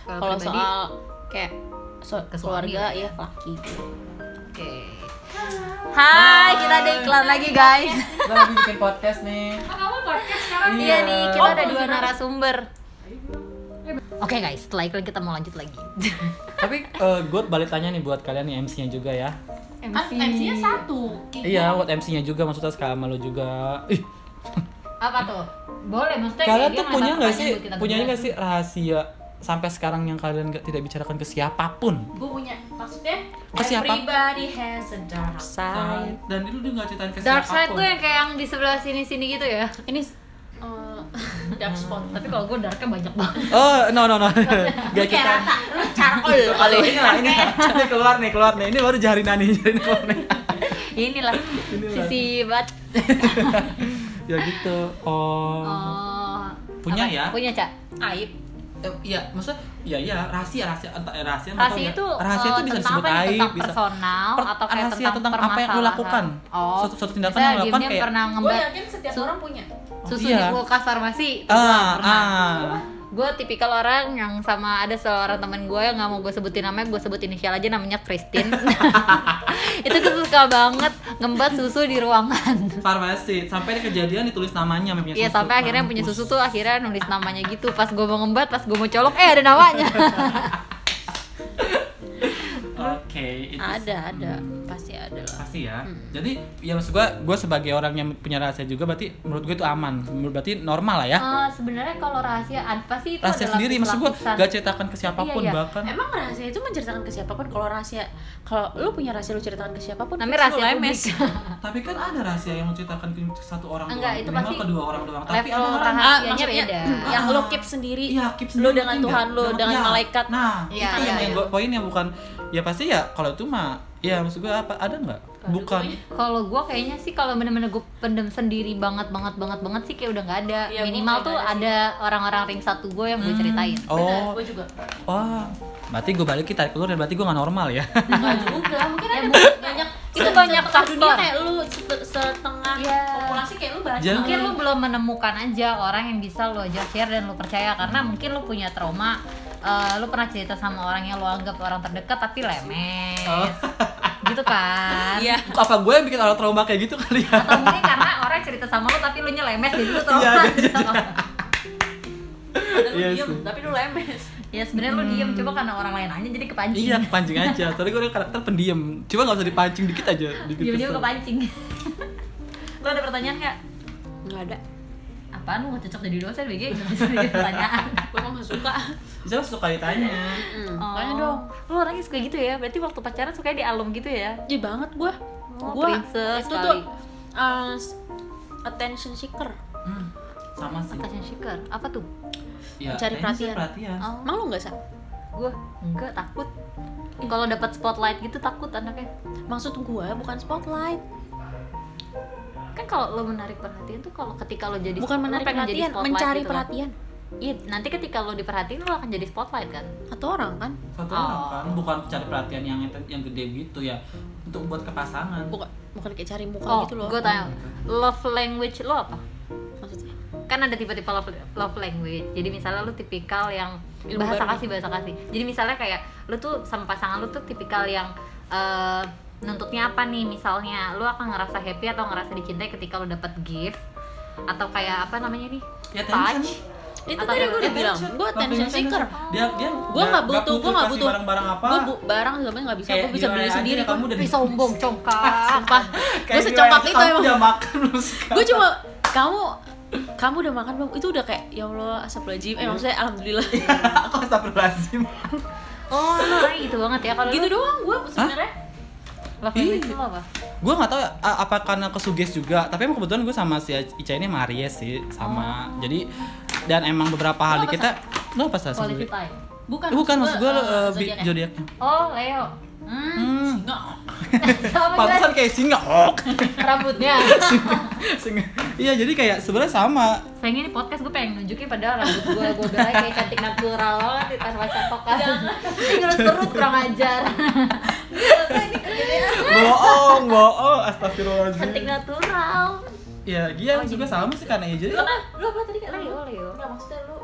[SPEAKER 4] kalau
[SPEAKER 1] pribadi,
[SPEAKER 4] soal kayak so-
[SPEAKER 1] ke suami.
[SPEAKER 4] keluarga ya laki
[SPEAKER 1] oke. Hai, kita ada iklan lagi guys.
[SPEAKER 2] Kita lagi bikin podcast nih.
[SPEAKER 1] Iya nih, kita ada dua narasumber. Oke guys, setelah iklan kita mau lanjut lagi.
[SPEAKER 2] Tapi gue Eh, balik tanya nih buat kalian yang MC-nya juga ya.
[SPEAKER 4] MC-nya satu
[SPEAKER 2] Iya, buat MC-nya juga maksudnya sama lo juga. Ih,
[SPEAKER 1] Apa tuh? Boleh, maksudnya
[SPEAKER 2] kalian
[SPEAKER 1] kayak
[SPEAKER 2] tuh
[SPEAKER 1] dia
[SPEAKER 2] punya
[SPEAKER 1] ngasih
[SPEAKER 2] nggak
[SPEAKER 1] pertanyaan
[SPEAKER 2] sih,
[SPEAKER 1] buat kita
[SPEAKER 2] punya
[SPEAKER 1] berdua.
[SPEAKER 2] nggak sih rahasia sampai sekarang yang kalian nggak tidak bicarakan ke siapapun?
[SPEAKER 4] gue punya maksudnya
[SPEAKER 2] Ke siapa?
[SPEAKER 4] everybody has a dark side
[SPEAKER 2] Dan itu juga nggak ceritain ke
[SPEAKER 1] Dark side gue yang kayak yang di sebelah sini sini gitu ya.
[SPEAKER 4] ini eh, dark spot
[SPEAKER 1] Tapi kalau gue darknya banyak banget.
[SPEAKER 2] Oh, no no no. Gak kita.
[SPEAKER 4] lu charcoal
[SPEAKER 2] Kali ini lah ini. Ini keluar nih, keluar nih. Ini baru jarinan nih, jarinan keluar nih.
[SPEAKER 1] Inilah sisi bat.
[SPEAKER 2] ya gitu. Oh.
[SPEAKER 1] Oh,
[SPEAKER 2] Punya
[SPEAKER 1] apa?
[SPEAKER 2] ya?
[SPEAKER 1] Punya cak.
[SPEAKER 4] aib
[SPEAKER 2] Eh, Iya, maksudnya iya iya rahasia rahasia entah eh, rahasia nggak tahu
[SPEAKER 1] Rahasia
[SPEAKER 2] ya.
[SPEAKER 1] itu
[SPEAKER 2] rahasia
[SPEAKER 1] eh,
[SPEAKER 2] itu bisa
[SPEAKER 1] tentang
[SPEAKER 2] disebut
[SPEAKER 1] apa nih?
[SPEAKER 2] aib,
[SPEAKER 1] tentang
[SPEAKER 2] bisa
[SPEAKER 1] personal
[SPEAKER 2] Per-
[SPEAKER 1] atau kayak
[SPEAKER 2] rahasia tentang apa yang lu
[SPEAKER 1] permasalahan?
[SPEAKER 2] lakukan.
[SPEAKER 1] Oh,
[SPEAKER 2] Suatu- suatu tindakan
[SPEAKER 1] misalnya
[SPEAKER 2] yang lu lakukan
[SPEAKER 1] Jimny
[SPEAKER 2] kayak-
[SPEAKER 1] pernah
[SPEAKER 4] gue
[SPEAKER 1] ngembat
[SPEAKER 4] yakin setiap
[SPEAKER 1] Su-
[SPEAKER 4] orang punya
[SPEAKER 2] Oh,
[SPEAKER 1] susu
[SPEAKER 2] iya.
[SPEAKER 1] di kulkas farmasi. itu gua
[SPEAKER 2] ah
[SPEAKER 1] gitu, pernah.
[SPEAKER 2] ah
[SPEAKER 1] Gue tipikal orang yang sama ada seorang teman gue yang nggak mau gue sebutin namanya, gue sebut inisial aja namanya Christine. itu gue suka banget ngembat susu di ruangan.
[SPEAKER 2] farmasi sampai ada kejadian ditulis namanya sama punya
[SPEAKER 1] Iya
[SPEAKER 2] susu.
[SPEAKER 1] sampai akhirnya yang punya
[SPEAKER 2] Mampus.
[SPEAKER 1] susu tuh akhirnya nulis namanya gitu. Pas gue mau ngembat, pas gue mau colok, eh ada namanya.
[SPEAKER 2] Oke, itu
[SPEAKER 4] ada
[SPEAKER 2] se-
[SPEAKER 4] ada
[SPEAKER 2] hmm,
[SPEAKER 4] pasti ada lah
[SPEAKER 2] pasti ya.
[SPEAKER 4] Hmm.
[SPEAKER 2] Jadi ya maksud gue, gue sebagai orang yang punya rahasia juga berarti menurut gue itu aman, Menurut- berarti normal lah ya.
[SPEAKER 1] Eh, sebenarnya kalau rahasia ad- pasti itu
[SPEAKER 2] rahasia
[SPEAKER 1] adalah
[SPEAKER 2] sendiri, maksud gue
[SPEAKER 1] lapisan-
[SPEAKER 2] gak ceritakan ke siapapun
[SPEAKER 1] Iya, iya.
[SPEAKER 2] bahkan.
[SPEAKER 4] Emang rahasia itu menceritakan ke siapapun. Kalau rahasia, kalau lu punya rahasia lu ceritakan ke siapapun,
[SPEAKER 1] Namanya
[SPEAKER 4] terus lu
[SPEAKER 1] rahasia
[SPEAKER 4] lemes.
[SPEAKER 2] Tapi kan ada rahasia yang menceritakan ke satu orang
[SPEAKER 1] Enggak,
[SPEAKER 2] doang,
[SPEAKER 1] itu
[SPEAKER 2] minimal
[SPEAKER 1] pasti
[SPEAKER 2] ke dua orang doang. Tapi
[SPEAKER 1] level
[SPEAKER 2] ada
[SPEAKER 1] rahasia. Ya,
[SPEAKER 2] orang
[SPEAKER 4] Ah,
[SPEAKER 1] Rahasianya
[SPEAKER 4] maksudnya
[SPEAKER 1] beda.
[SPEAKER 4] yang
[SPEAKER 2] Ah.
[SPEAKER 4] lo keep sendiri,
[SPEAKER 2] Iya, keep
[SPEAKER 4] lu
[SPEAKER 2] sendiri
[SPEAKER 4] dengan
[SPEAKER 2] mungkin
[SPEAKER 4] Tuhan
[SPEAKER 2] nggak?
[SPEAKER 4] lu, dengan
[SPEAKER 2] ya,
[SPEAKER 4] malaikat.
[SPEAKER 2] Nah,
[SPEAKER 1] Iya,
[SPEAKER 2] itu
[SPEAKER 1] iya,
[SPEAKER 2] yang
[SPEAKER 1] iya.
[SPEAKER 2] gue poinnya bukan ya pasti ya kalau itu mah ya maksud gue apa ada nggak? Bukan.
[SPEAKER 1] kalau gue kayaknya sih kalau bener-bener gue pendem sendiri banget banget banget banget sih kayak udah nggak ada
[SPEAKER 4] Iya, gua
[SPEAKER 1] minimal
[SPEAKER 4] kayak
[SPEAKER 1] tuh
[SPEAKER 4] nggak ada
[SPEAKER 1] ada orang-orang ring satu gue yang gue ceritain
[SPEAKER 4] Bener,
[SPEAKER 2] Oh,
[SPEAKER 4] gue juga.
[SPEAKER 2] wah. Berarti gue balik tarik keluar dan berarti gue gak normal ya.
[SPEAKER 4] Enggak juga, Ya, mungkin ada banyak.
[SPEAKER 1] itu banyak
[SPEAKER 4] setengah dunia
[SPEAKER 1] faktor.
[SPEAKER 4] kayak lu sete- setengah
[SPEAKER 1] Iya.
[SPEAKER 4] populasi kayak lu banyak.
[SPEAKER 2] Jangan-
[SPEAKER 1] mungkin lu belum menemukan aja orang yang bisa lu ajak share dan lu percaya karena mungkin lu punya trauma eh, lu pernah cerita sama orang yang lu anggap orang terdekat tapi lemes
[SPEAKER 2] Oh.
[SPEAKER 1] gitu kan
[SPEAKER 4] Iya.
[SPEAKER 2] apa gue yang bikin orang trauma kayak gitu kali ya?
[SPEAKER 1] atau mungkin karena orang cerita sama lu tapi lu nya lemes jadi lu trauma
[SPEAKER 2] Iya, iya,
[SPEAKER 1] gitu.
[SPEAKER 4] Padahal lu
[SPEAKER 2] Iya
[SPEAKER 4] diem,
[SPEAKER 2] sih. Hmm.
[SPEAKER 4] tapi lu lemes.
[SPEAKER 1] ya sebenarnya lu diem coba karena orang lain aja jadi kepancing
[SPEAKER 2] Iya, kepancing aja. Tadi gue udah karakter pendiam. Cuma gak usah dipancing dikit aja. Dikit
[SPEAKER 4] Iya,
[SPEAKER 1] Diam-diam
[SPEAKER 2] kesel.
[SPEAKER 1] kepancing. Lo ada pertanyaan nggak?
[SPEAKER 4] Enggak ada.
[SPEAKER 1] Apaan lu nggak cocok jadi dosen Gitu, BG? Nggak Bisa bikin pertanyaan.
[SPEAKER 4] Gue mau suka.
[SPEAKER 2] Bisa suka ditanya.
[SPEAKER 1] Oh.
[SPEAKER 4] Tanya dong.
[SPEAKER 1] Lu orangnya suka gitu ya? Berarti waktu pacaran suka di alum gitu ya?
[SPEAKER 4] Iya banget gue.
[SPEAKER 1] Oh,
[SPEAKER 4] gue
[SPEAKER 1] princess
[SPEAKER 4] itu
[SPEAKER 1] kali.
[SPEAKER 4] tuh uh, attention seeker.
[SPEAKER 2] Hmm, sama sih.
[SPEAKER 1] Attention seeker. Apa tuh?
[SPEAKER 2] Ya, kayaknya sih
[SPEAKER 4] Mencari perhatian.
[SPEAKER 2] perhatian.
[SPEAKER 1] Oh.
[SPEAKER 4] Emang lu nggak sih?
[SPEAKER 1] Gue enggak takut. Kalau dapat spotlight gitu takut anaknya.
[SPEAKER 4] Maksud gue bukan spotlight,
[SPEAKER 1] Kan kalau lo menarik perhatian tuh kalau ketika lo jadi
[SPEAKER 4] bukan
[SPEAKER 1] lo
[SPEAKER 4] menarik
[SPEAKER 1] pengen jadi
[SPEAKER 4] perhatian,
[SPEAKER 1] spotlight
[SPEAKER 4] mencari
[SPEAKER 1] gitu kan.
[SPEAKER 4] perhatian.
[SPEAKER 1] Iya, nanti ketika lo diperhatiin lo akan jadi spotlight kan.
[SPEAKER 4] Atau orang kan?
[SPEAKER 2] Satu
[SPEAKER 1] Oh.
[SPEAKER 2] orang kan bukan cari perhatian yang yang gede gitu ya. Untuk buat ke pasangan.
[SPEAKER 4] Bukan bukan kayak cari muka
[SPEAKER 1] Oh,
[SPEAKER 4] gitu loh.
[SPEAKER 1] gue tanya, love language lo apa?
[SPEAKER 4] Maksudnya.
[SPEAKER 1] kan ada tipe-tipe love, love language jadi misalnya lu tipikal yang
[SPEAKER 4] Ilmu
[SPEAKER 1] bahasa
[SPEAKER 4] baru.
[SPEAKER 1] kasih bahasa kasih jadi misalnya kayak lu tuh sama pasangan lu tuh tipikal yang eh, nuntutnya apa nih misalnya lu akan ngerasa happy atau ngerasa dicintai ketika lu dapet gift atau kayak apa namanya nih
[SPEAKER 2] Ya, tension.
[SPEAKER 1] touch
[SPEAKER 4] Itu
[SPEAKER 1] Atau
[SPEAKER 4] tadi gue
[SPEAKER 1] attention.
[SPEAKER 4] udah bilang, gue attention seeker.
[SPEAKER 2] Dia dia
[SPEAKER 4] Gue nggak butuh, gue nggak butuh.
[SPEAKER 2] barang-barang apa.
[SPEAKER 4] Gue bu barang sebenarnya nggak bisa, gue bisa
[SPEAKER 2] di
[SPEAKER 4] beli
[SPEAKER 2] mana aja
[SPEAKER 4] sendiri.
[SPEAKER 2] kamu udah
[SPEAKER 1] Ih, sombong congkak
[SPEAKER 4] Sumpah, gue secongkak itu emang.
[SPEAKER 2] Udah makan belum sekarang?
[SPEAKER 4] Gue cuma kamu kamu udah makan belum? Itu udah kayak ya Allah asap lajim. Eh maksudnya
[SPEAKER 2] Iya.
[SPEAKER 4] alhamdulillah.
[SPEAKER 2] Aku astagfirullahaladzim
[SPEAKER 1] oh nah gitu banget ya kalau
[SPEAKER 4] gitu
[SPEAKER 1] lu
[SPEAKER 4] doang gue sebenarnya.
[SPEAKER 1] love language lu apa
[SPEAKER 2] Gue gak tau a- apa karena kesuges juga Tapi emang kebetulan gue sama si Ica ini sama Aries sih Sama Jadi Dan emang beberapa hal di
[SPEAKER 4] apa,
[SPEAKER 2] kita Lo apa sih?
[SPEAKER 1] quality time
[SPEAKER 4] Bukan,
[SPEAKER 2] Bukan maksud gue
[SPEAKER 4] eh,
[SPEAKER 2] uh,
[SPEAKER 4] zodiak ya.
[SPEAKER 2] zodiaknya
[SPEAKER 1] oh Leo hmm.
[SPEAKER 2] Hmm
[SPEAKER 4] Nggak.
[SPEAKER 1] sama
[SPEAKER 2] Pantesan
[SPEAKER 1] juga
[SPEAKER 2] kayak singa ok.
[SPEAKER 1] rambutnya
[SPEAKER 2] Singa. Iya jadi kayak sebenarnya sama
[SPEAKER 1] Sayangnya ini podcast gue pengen nunjukin padahal rambut gue gue belain kayak cantik natural banget di tanpa catokan. Ini ngerus perut kurang ajar.
[SPEAKER 2] ya? Boong, boong, astagfirullahaladzim
[SPEAKER 1] cantik natural.
[SPEAKER 2] Ya dia
[SPEAKER 1] Oh,
[SPEAKER 2] juga
[SPEAKER 1] jadi-
[SPEAKER 2] sama sih karena ya jadi
[SPEAKER 4] Lu apa tadi kan?
[SPEAKER 1] Leo, Leo.
[SPEAKER 4] Enggak maksudnya lu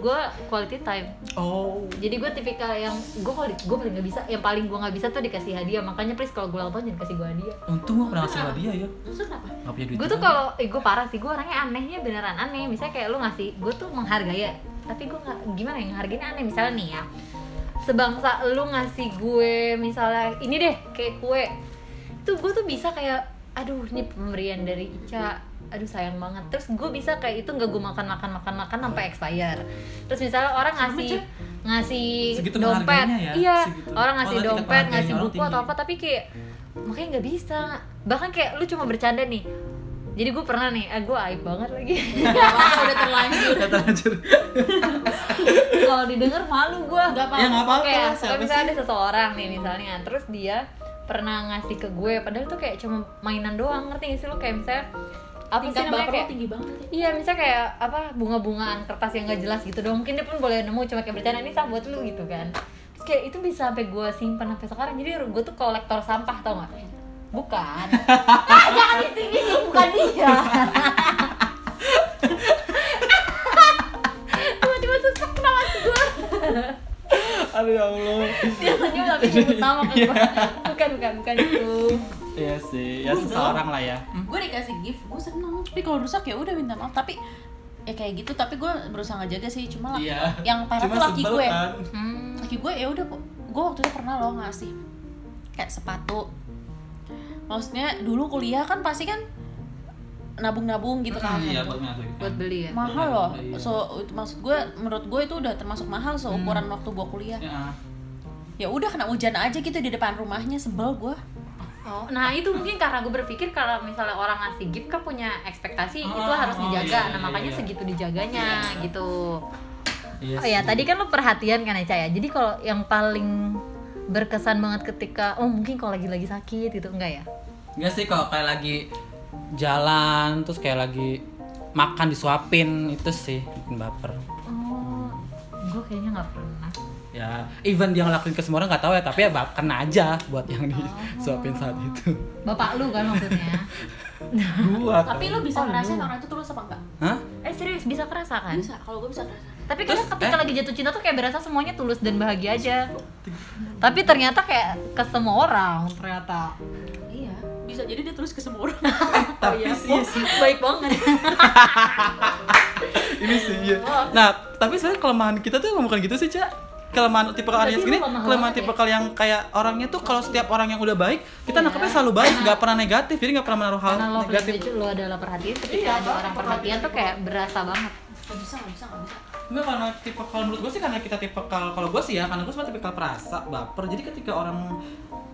[SPEAKER 1] Gue quality time.
[SPEAKER 2] Oh
[SPEAKER 1] Jadi gue tipikal yang gue kalau gue paling nggak bisa, yang paling gue nggak bisa tuh dikasih hadiah. Makanya please kalau gue ulang tahun jangan kasih gue hadiah.
[SPEAKER 2] Untung gue pernah ngasih sama dia ya
[SPEAKER 4] Maksudnya kenapa?
[SPEAKER 2] Gak punya duit
[SPEAKER 1] Gue tuh kalau, eh gue parah sih. Gue orangnya anehnya beneran aneh. Misalnya kayak lu ngasih, gue tuh menghargai ya. Tapi gue nggak gimana ya ngehargainnya aneh. Misalnya nih ya, sebangsa lu ngasih gue misalnya ini deh kayak kue tuh gue tuh bisa kayak aduh ini pemberian dari Ica aduh sayang banget terus gue bisa kayak itu nggak gue makan makan makan makan
[SPEAKER 2] Iya.
[SPEAKER 1] sampai expire terus misalnya orang ngasih ngasih
[SPEAKER 2] Segitu
[SPEAKER 1] dompet
[SPEAKER 2] menghargainya ya,
[SPEAKER 1] iya
[SPEAKER 2] segitu.
[SPEAKER 1] orang
[SPEAKER 2] Oh,
[SPEAKER 1] ngasih
[SPEAKER 2] tingkat
[SPEAKER 1] dompet
[SPEAKER 2] penghargaannya
[SPEAKER 1] ngasih
[SPEAKER 2] orang
[SPEAKER 1] buku atau
[SPEAKER 2] tinggi.
[SPEAKER 1] apa tapi kayak makanya nggak bisa bahkan kayak lu cuma bercanda nih jadi gue pernah nih, eh, gue aib banget lagi
[SPEAKER 4] Wah, Ya, udah terlanjur.
[SPEAKER 2] Udah terlanjur
[SPEAKER 1] kalau didengar malu gue
[SPEAKER 4] Nggak apa-apa.
[SPEAKER 2] Ya nggak apa-apa,
[SPEAKER 1] kayak
[SPEAKER 2] siapa
[SPEAKER 1] kalau misalnya
[SPEAKER 2] sih?
[SPEAKER 1] ada seseorang nih misalnya terus dia pernah ngasih ke gue padahal tuh kayak cuma mainan doang ngerti gak sih lo kayak misalnya apa sih
[SPEAKER 4] Tingkat
[SPEAKER 1] namanya
[SPEAKER 4] baper lu
[SPEAKER 1] kayak
[SPEAKER 4] tinggi banget. ya.
[SPEAKER 1] iya misalnya kayak apa bunga-bungaan kertas yang gak jelas gitu doang mungkin dia pun boleh nemu cuma kayak bercanda ini sama buat lu gitu kan terus kayak itu bisa sampai gue simpan sampai sekarang jadi gue tuh kolektor sampah tau gak bukan ah, jangan bising-bising bukan dia tiba-tiba sesak kenapa sih gue
[SPEAKER 2] Aduh ya Allah
[SPEAKER 1] dia senyum tapi nyebut nama ke gue kan, bukan bukan bukan itu
[SPEAKER 2] Iya sih, ya seseorang lah ya
[SPEAKER 4] gue dikasih gift gue seneng tapi kalau rusak ya udah minta maaf tapi ya kayak gitu tapi gue berusaha ngejaga sih cuma lah-
[SPEAKER 2] Iya
[SPEAKER 4] yang parah
[SPEAKER 2] Cuma
[SPEAKER 4] tuh laki
[SPEAKER 2] sebel
[SPEAKER 4] gue
[SPEAKER 2] kan.
[SPEAKER 1] hmm.
[SPEAKER 4] laki gue ya udah po- gue waktu itu pernah loh ngasih kayak sepatu maksudnya dulu kuliah kan pasti kan nabung-nabung gitu kan
[SPEAKER 2] Iya, buat ngasuhin.
[SPEAKER 1] buat beli ya
[SPEAKER 4] mahal
[SPEAKER 2] Iya,
[SPEAKER 4] loh
[SPEAKER 2] iya.
[SPEAKER 4] so itu- maksud gue menurut gue itu udah termasuk mahal so ukuran waktu gue kuliah
[SPEAKER 2] Ya, ah.
[SPEAKER 4] ya udah kena hujan aja gitu di depan rumahnya sebel gue
[SPEAKER 1] oh nah itu mungkin karena gue berpikir kalau misalnya orang ngasih gift kan punya ekspektasi
[SPEAKER 2] Oh,
[SPEAKER 1] itu harus
[SPEAKER 2] oh,
[SPEAKER 1] dijaga
[SPEAKER 2] iya,
[SPEAKER 1] nah
[SPEAKER 2] iya,
[SPEAKER 1] makanya
[SPEAKER 2] iya.
[SPEAKER 1] segitu dijaganya gitu
[SPEAKER 2] Iya
[SPEAKER 1] oh ya
[SPEAKER 2] sih.
[SPEAKER 1] tadi kan lo perhatian kan ya Caya jadi kalau yang paling berkesan banget ketika oh mungkin kalau lagi-lagi sakit gitu enggak ya
[SPEAKER 2] Enggak sih kalau kayak lagi jalan terus kayak lagi makan disuapin itu sih bikin baper.
[SPEAKER 1] oh gue kayaknya nggak pernah
[SPEAKER 2] Ya, even dia ngelakuin ke semua orang nggak tahu ya, tapi ya bak- kena aja buat yang
[SPEAKER 4] Oh.
[SPEAKER 2] disuapin saat itu.
[SPEAKER 1] bapak lu kan maksudnya
[SPEAKER 2] Gua.
[SPEAKER 4] tapi lu bisa ngerasain orang itu tulus apa enggak
[SPEAKER 2] Hah?
[SPEAKER 1] eh serius bisa kerasa kan
[SPEAKER 4] bisa kalau gue bisa ngerasain
[SPEAKER 1] tapi
[SPEAKER 2] Terus,
[SPEAKER 1] kadang ketika
[SPEAKER 2] eh?
[SPEAKER 1] lagi jatuh cinta tuh kayak berasa semuanya tulus dan bahagia aja tapi ternyata kayak ke semua orang ternyata
[SPEAKER 4] iya bisa jadi dia tulus ke semua orang iya.
[SPEAKER 2] Tapi
[SPEAKER 4] Oh,
[SPEAKER 2] sih
[SPEAKER 1] baik banget
[SPEAKER 2] ini sih iya.
[SPEAKER 1] Hmm,
[SPEAKER 2] Nah, tapi sebenarnya kelemahan kita tuh emang bukan gitu sih, Cak. Kelemahan tipe kalian
[SPEAKER 1] Berarti lu
[SPEAKER 2] segini,
[SPEAKER 1] ya? lemah
[SPEAKER 2] kelemahan
[SPEAKER 1] banget
[SPEAKER 2] tipe yang kayak orangnya tuh kalau setiap orang yang udah baik, kita nangkepnya selalu baik, nggak pernah negatif, jadi nggak pernah menaruh hal
[SPEAKER 1] Iya. karena lo
[SPEAKER 2] Oh, negatif.
[SPEAKER 1] privilege lo adalah perhatian ketika ada orang perhatian tuh kayak berasa banget
[SPEAKER 4] nggak bisa nggak bisa nggak bisa
[SPEAKER 2] Enggak karena tipe kalau menurut gue sih karena kita tipe kalau kalau gue sih ya karena gue sempat tipe perasa baper jadi ketika orang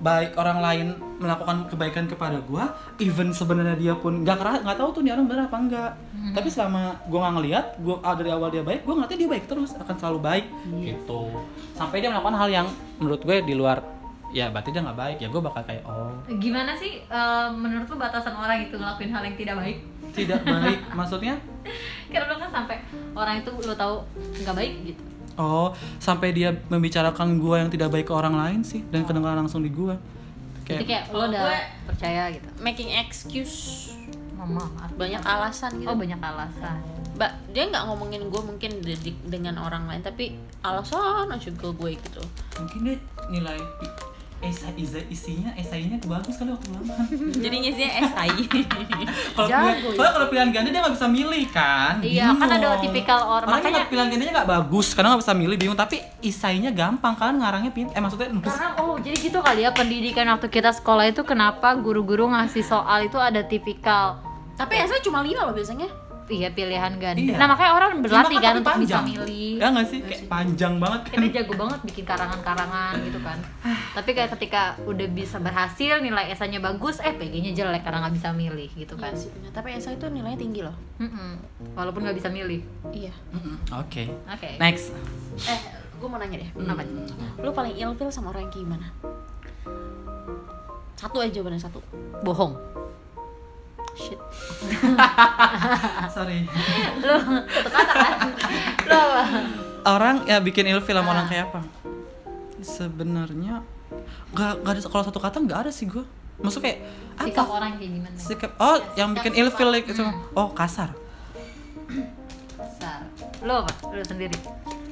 [SPEAKER 2] baik orang lain melakukan kebaikan kepada gue even sebenarnya dia pun nggak kera- nggak tahu tuh nih orang bener apa enggak
[SPEAKER 1] Hmm.
[SPEAKER 2] tapi selama gue nggak ngelihat gue ah, dari awal dia baik gue ngerti dia baik terus akan selalu baik
[SPEAKER 1] Hmm.
[SPEAKER 2] gitu sampai dia melakukan hal yang menurut gue di luar ya berarti dia nggak baik ya gue bakal kayak oh
[SPEAKER 1] gimana sih eh, menurut lo batasan orang itu ngelakuin hal yang tidak baik
[SPEAKER 2] tidak baik maksudnya
[SPEAKER 1] karena lo kan sampai orang itu lo tahu nggak baik gitu
[SPEAKER 2] oh sampai dia membicarakan gue yang tidak baik ke orang lain sih dan kedengaran langsung di gue
[SPEAKER 1] jadi
[SPEAKER 2] Iya.
[SPEAKER 1] kayak lo
[SPEAKER 4] Kalau
[SPEAKER 1] udah
[SPEAKER 4] gue-
[SPEAKER 1] percaya gitu
[SPEAKER 4] making excuse
[SPEAKER 1] mama maaf
[SPEAKER 4] banyak alasan gitu
[SPEAKER 1] oh banyak alasan
[SPEAKER 4] Mbak, dia nggak ngomongin gue mungkin de- de- dengan orang lain tapi alasan aja ke gue gitu
[SPEAKER 2] mungkin dia nilai esai isa- isinya esainya bagus kali waktu ulangan
[SPEAKER 4] jadinya sih SI
[SPEAKER 2] kalau pilihan
[SPEAKER 1] Jago ya.
[SPEAKER 2] soalnya kalau pilihan ganda dia nggak bisa milih kan
[SPEAKER 1] Iya, kan ada
[SPEAKER 2] Bingung.
[SPEAKER 1] tipikal orang-
[SPEAKER 2] makanya
[SPEAKER 1] makanya-
[SPEAKER 2] pilihan gandanya nggak bagus karena nggak bisa milih bingung tapi isainya gampang kan ngarangnya pin eh maksudnya nulis
[SPEAKER 1] Karena oh jadi gitu kali ya pendidikan waktu kita sekolah itu kenapa guru-guru ngasih soal itu ada tipikal
[SPEAKER 4] tapi SI cuma lima loh biasanya
[SPEAKER 1] iya pilihan ganda.
[SPEAKER 2] Iya.
[SPEAKER 1] Nah makanya orang berlatih
[SPEAKER 2] Cuma
[SPEAKER 1] kan
[SPEAKER 2] tapi
[SPEAKER 1] untuk bisa
[SPEAKER 2] panjang.
[SPEAKER 1] milih.
[SPEAKER 2] ya nggak sih kayak panjang banget kan
[SPEAKER 1] Kita jago banget bikin karangan-karangan gitu kan. Tapi kayak ketika udah bisa berhasil nilai esanya bagus, eh PG-nya jelek karena nggak bisa milih gitu
[SPEAKER 4] Iya
[SPEAKER 1] kan.
[SPEAKER 4] sih bener. tapi SI itu nilainya tinggi loh
[SPEAKER 1] Mm-mm. Walaupun nggak bisa milih.
[SPEAKER 4] iya
[SPEAKER 2] Mm-mm. oke
[SPEAKER 1] Oke.
[SPEAKER 2] next
[SPEAKER 4] eh gue mau nanya deh
[SPEAKER 1] Kenapa?
[SPEAKER 4] lu paling ilfil sama orang yang kayak gimana satu aja jawabannya satu
[SPEAKER 1] Bohong.
[SPEAKER 4] shit
[SPEAKER 1] Ah.
[SPEAKER 2] sorry
[SPEAKER 1] Lo kata kan? Lo apa?
[SPEAKER 2] orang ya bikin ilfil sama
[SPEAKER 1] Ah.
[SPEAKER 2] orang kayak apa sebenarnya nggak nggak ada kalau satu kata nggak ada sih gue maksud kayak
[SPEAKER 1] sikap
[SPEAKER 2] apa
[SPEAKER 1] orang kayak gimana?
[SPEAKER 2] sikap oh
[SPEAKER 4] Iya,
[SPEAKER 2] yang bikin ilfil like, itu
[SPEAKER 4] Hmm.
[SPEAKER 2] oh kasar
[SPEAKER 1] Besar. Lo apa? Lo sendiri.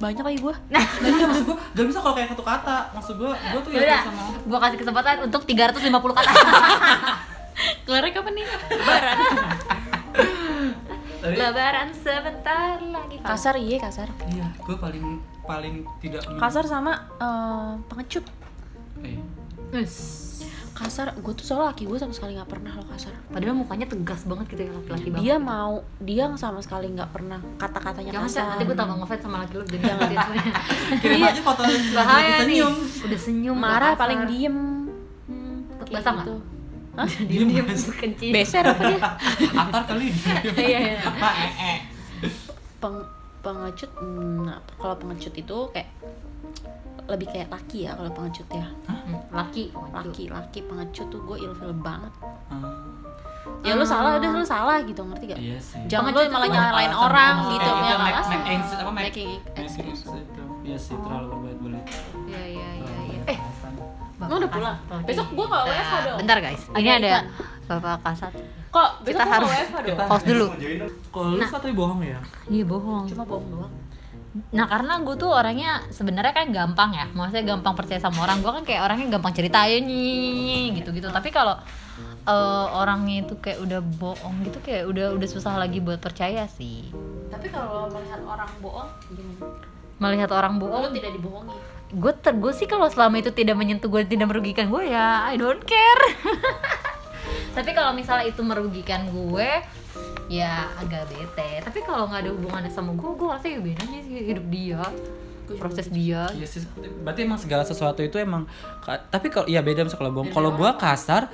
[SPEAKER 4] banyak lagi gue
[SPEAKER 2] nah iya maksud gue gak bisa kalau kayak satu kata maksud gue gue tuh ilfil
[SPEAKER 1] Udah,
[SPEAKER 2] Oh, iya, sama orang
[SPEAKER 1] gue kasih kesempatan untuk 350 kata
[SPEAKER 4] kelarnya kapan nih
[SPEAKER 2] Tapi,
[SPEAKER 1] Lebaran sebentar lagi
[SPEAKER 4] kasar iya kasar
[SPEAKER 2] iya gue paling paling tidak men-
[SPEAKER 4] kasar sama eh, pengecut
[SPEAKER 2] eh,
[SPEAKER 4] kasar gue tuh soal laki gue sama sekali nggak pernah lo kasar
[SPEAKER 1] Padahal mukanya tegas banget gitu ya laki-laki banget
[SPEAKER 4] dia mau dia sama sekali nggak pernah kata-katanya
[SPEAKER 1] Jangan
[SPEAKER 4] kasar
[SPEAKER 1] Seth, nanti gue tambah ngefans sama laki lu jadi jangan
[SPEAKER 2] kirim
[SPEAKER 4] Iya.
[SPEAKER 2] aja foto
[SPEAKER 1] Iya. Bahaya
[SPEAKER 2] lagi
[SPEAKER 1] nih
[SPEAKER 2] senyum
[SPEAKER 1] Iya. Udah senyum
[SPEAKER 4] marah
[SPEAKER 1] udah kasar.
[SPEAKER 4] paling diem
[SPEAKER 1] Ikut
[SPEAKER 4] Kayak
[SPEAKER 1] basah gak?
[SPEAKER 4] gitu.
[SPEAKER 1] Diem-diem kencing
[SPEAKER 4] beser apa dia
[SPEAKER 2] antar kali
[SPEAKER 1] Iya iya
[SPEAKER 2] Apa, eh, eh.
[SPEAKER 4] Peng, pengecut hmm, nah, kalau pengecut itu kayak lebih kayak laki ya kalau pengecut ya
[SPEAKER 1] Hmm, Laki Laki
[SPEAKER 4] laki laki pengecut tuh gue ilfil banget
[SPEAKER 2] Ah,
[SPEAKER 4] ya lu
[SPEAKER 1] Ah.
[SPEAKER 4] salah udah lu salah gitu ngerti gak
[SPEAKER 2] iya sih
[SPEAKER 4] jangan
[SPEAKER 1] Pengecut
[SPEAKER 4] lu malah
[SPEAKER 1] itu
[SPEAKER 4] nyalain
[SPEAKER 2] Alasan Eh,
[SPEAKER 4] orang
[SPEAKER 2] ngomong
[SPEAKER 4] gitu
[SPEAKER 2] kayak
[SPEAKER 4] ya
[SPEAKER 2] make-
[SPEAKER 4] alasan.
[SPEAKER 2] make exit, apa, make-
[SPEAKER 4] Making
[SPEAKER 2] Making
[SPEAKER 4] excuse.
[SPEAKER 2] exit, iya sih terlalu berbelit-belit
[SPEAKER 1] Iya iya iya
[SPEAKER 2] Terlalu
[SPEAKER 1] iya.
[SPEAKER 2] banyak
[SPEAKER 1] Eh
[SPEAKER 2] alasan.
[SPEAKER 1] Bapak
[SPEAKER 4] Lu udah
[SPEAKER 1] Kasat
[SPEAKER 4] pulang?
[SPEAKER 1] lagi.
[SPEAKER 4] Besok gua nggak
[SPEAKER 1] Bentar,
[SPEAKER 4] WFH dong.
[SPEAKER 1] Eh, Bentar guys Ini
[SPEAKER 4] Ada
[SPEAKER 1] ada
[SPEAKER 4] iklan.
[SPEAKER 1] Bapak Kasat
[SPEAKER 4] kok besok
[SPEAKER 1] Kita
[SPEAKER 4] gua
[SPEAKER 1] harus-
[SPEAKER 4] WFH dong
[SPEAKER 1] Pause dulu.
[SPEAKER 2] Kalau
[SPEAKER 4] Nah.
[SPEAKER 2] lu katanya bohong ya?
[SPEAKER 1] Iya bohong
[SPEAKER 4] cuma bohong doang
[SPEAKER 1] Nah karena gue tuh orangnya sebenarnya kan gampang ya Maksudnya gampang percaya sama orang Gue kan kayak orangnya gampang ceritain gitu-gitu Tapi kalau eh, orangnya itu kayak udah bohong gitu Kayak udah udah susah lagi buat percaya sih
[SPEAKER 4] tapi kalau melihat orang bohong gimana
[SPEAKER 1] melihat orang
[SPEAKER 4] Lo
[SPEAKER 1] bohong
[SPEAKER 4] tidak dibohongi.
[SPEAKER 1] gue ter gue sih kalau selama itu tidak menyentuh gue tidak merugikan gue ya I don't care tapi kalau misalnya itu merugikan gue ya agak bete tapi kalau nggak ada hubungannya sama gue gue rasa ya beda aja sih hidup dia proses dia
[SPEAKER 2] Iya sih, berarti emang segala sesuatu itu emang ka- tapi kalau iya beda misalnya kalau bohong. Kalau gua kasar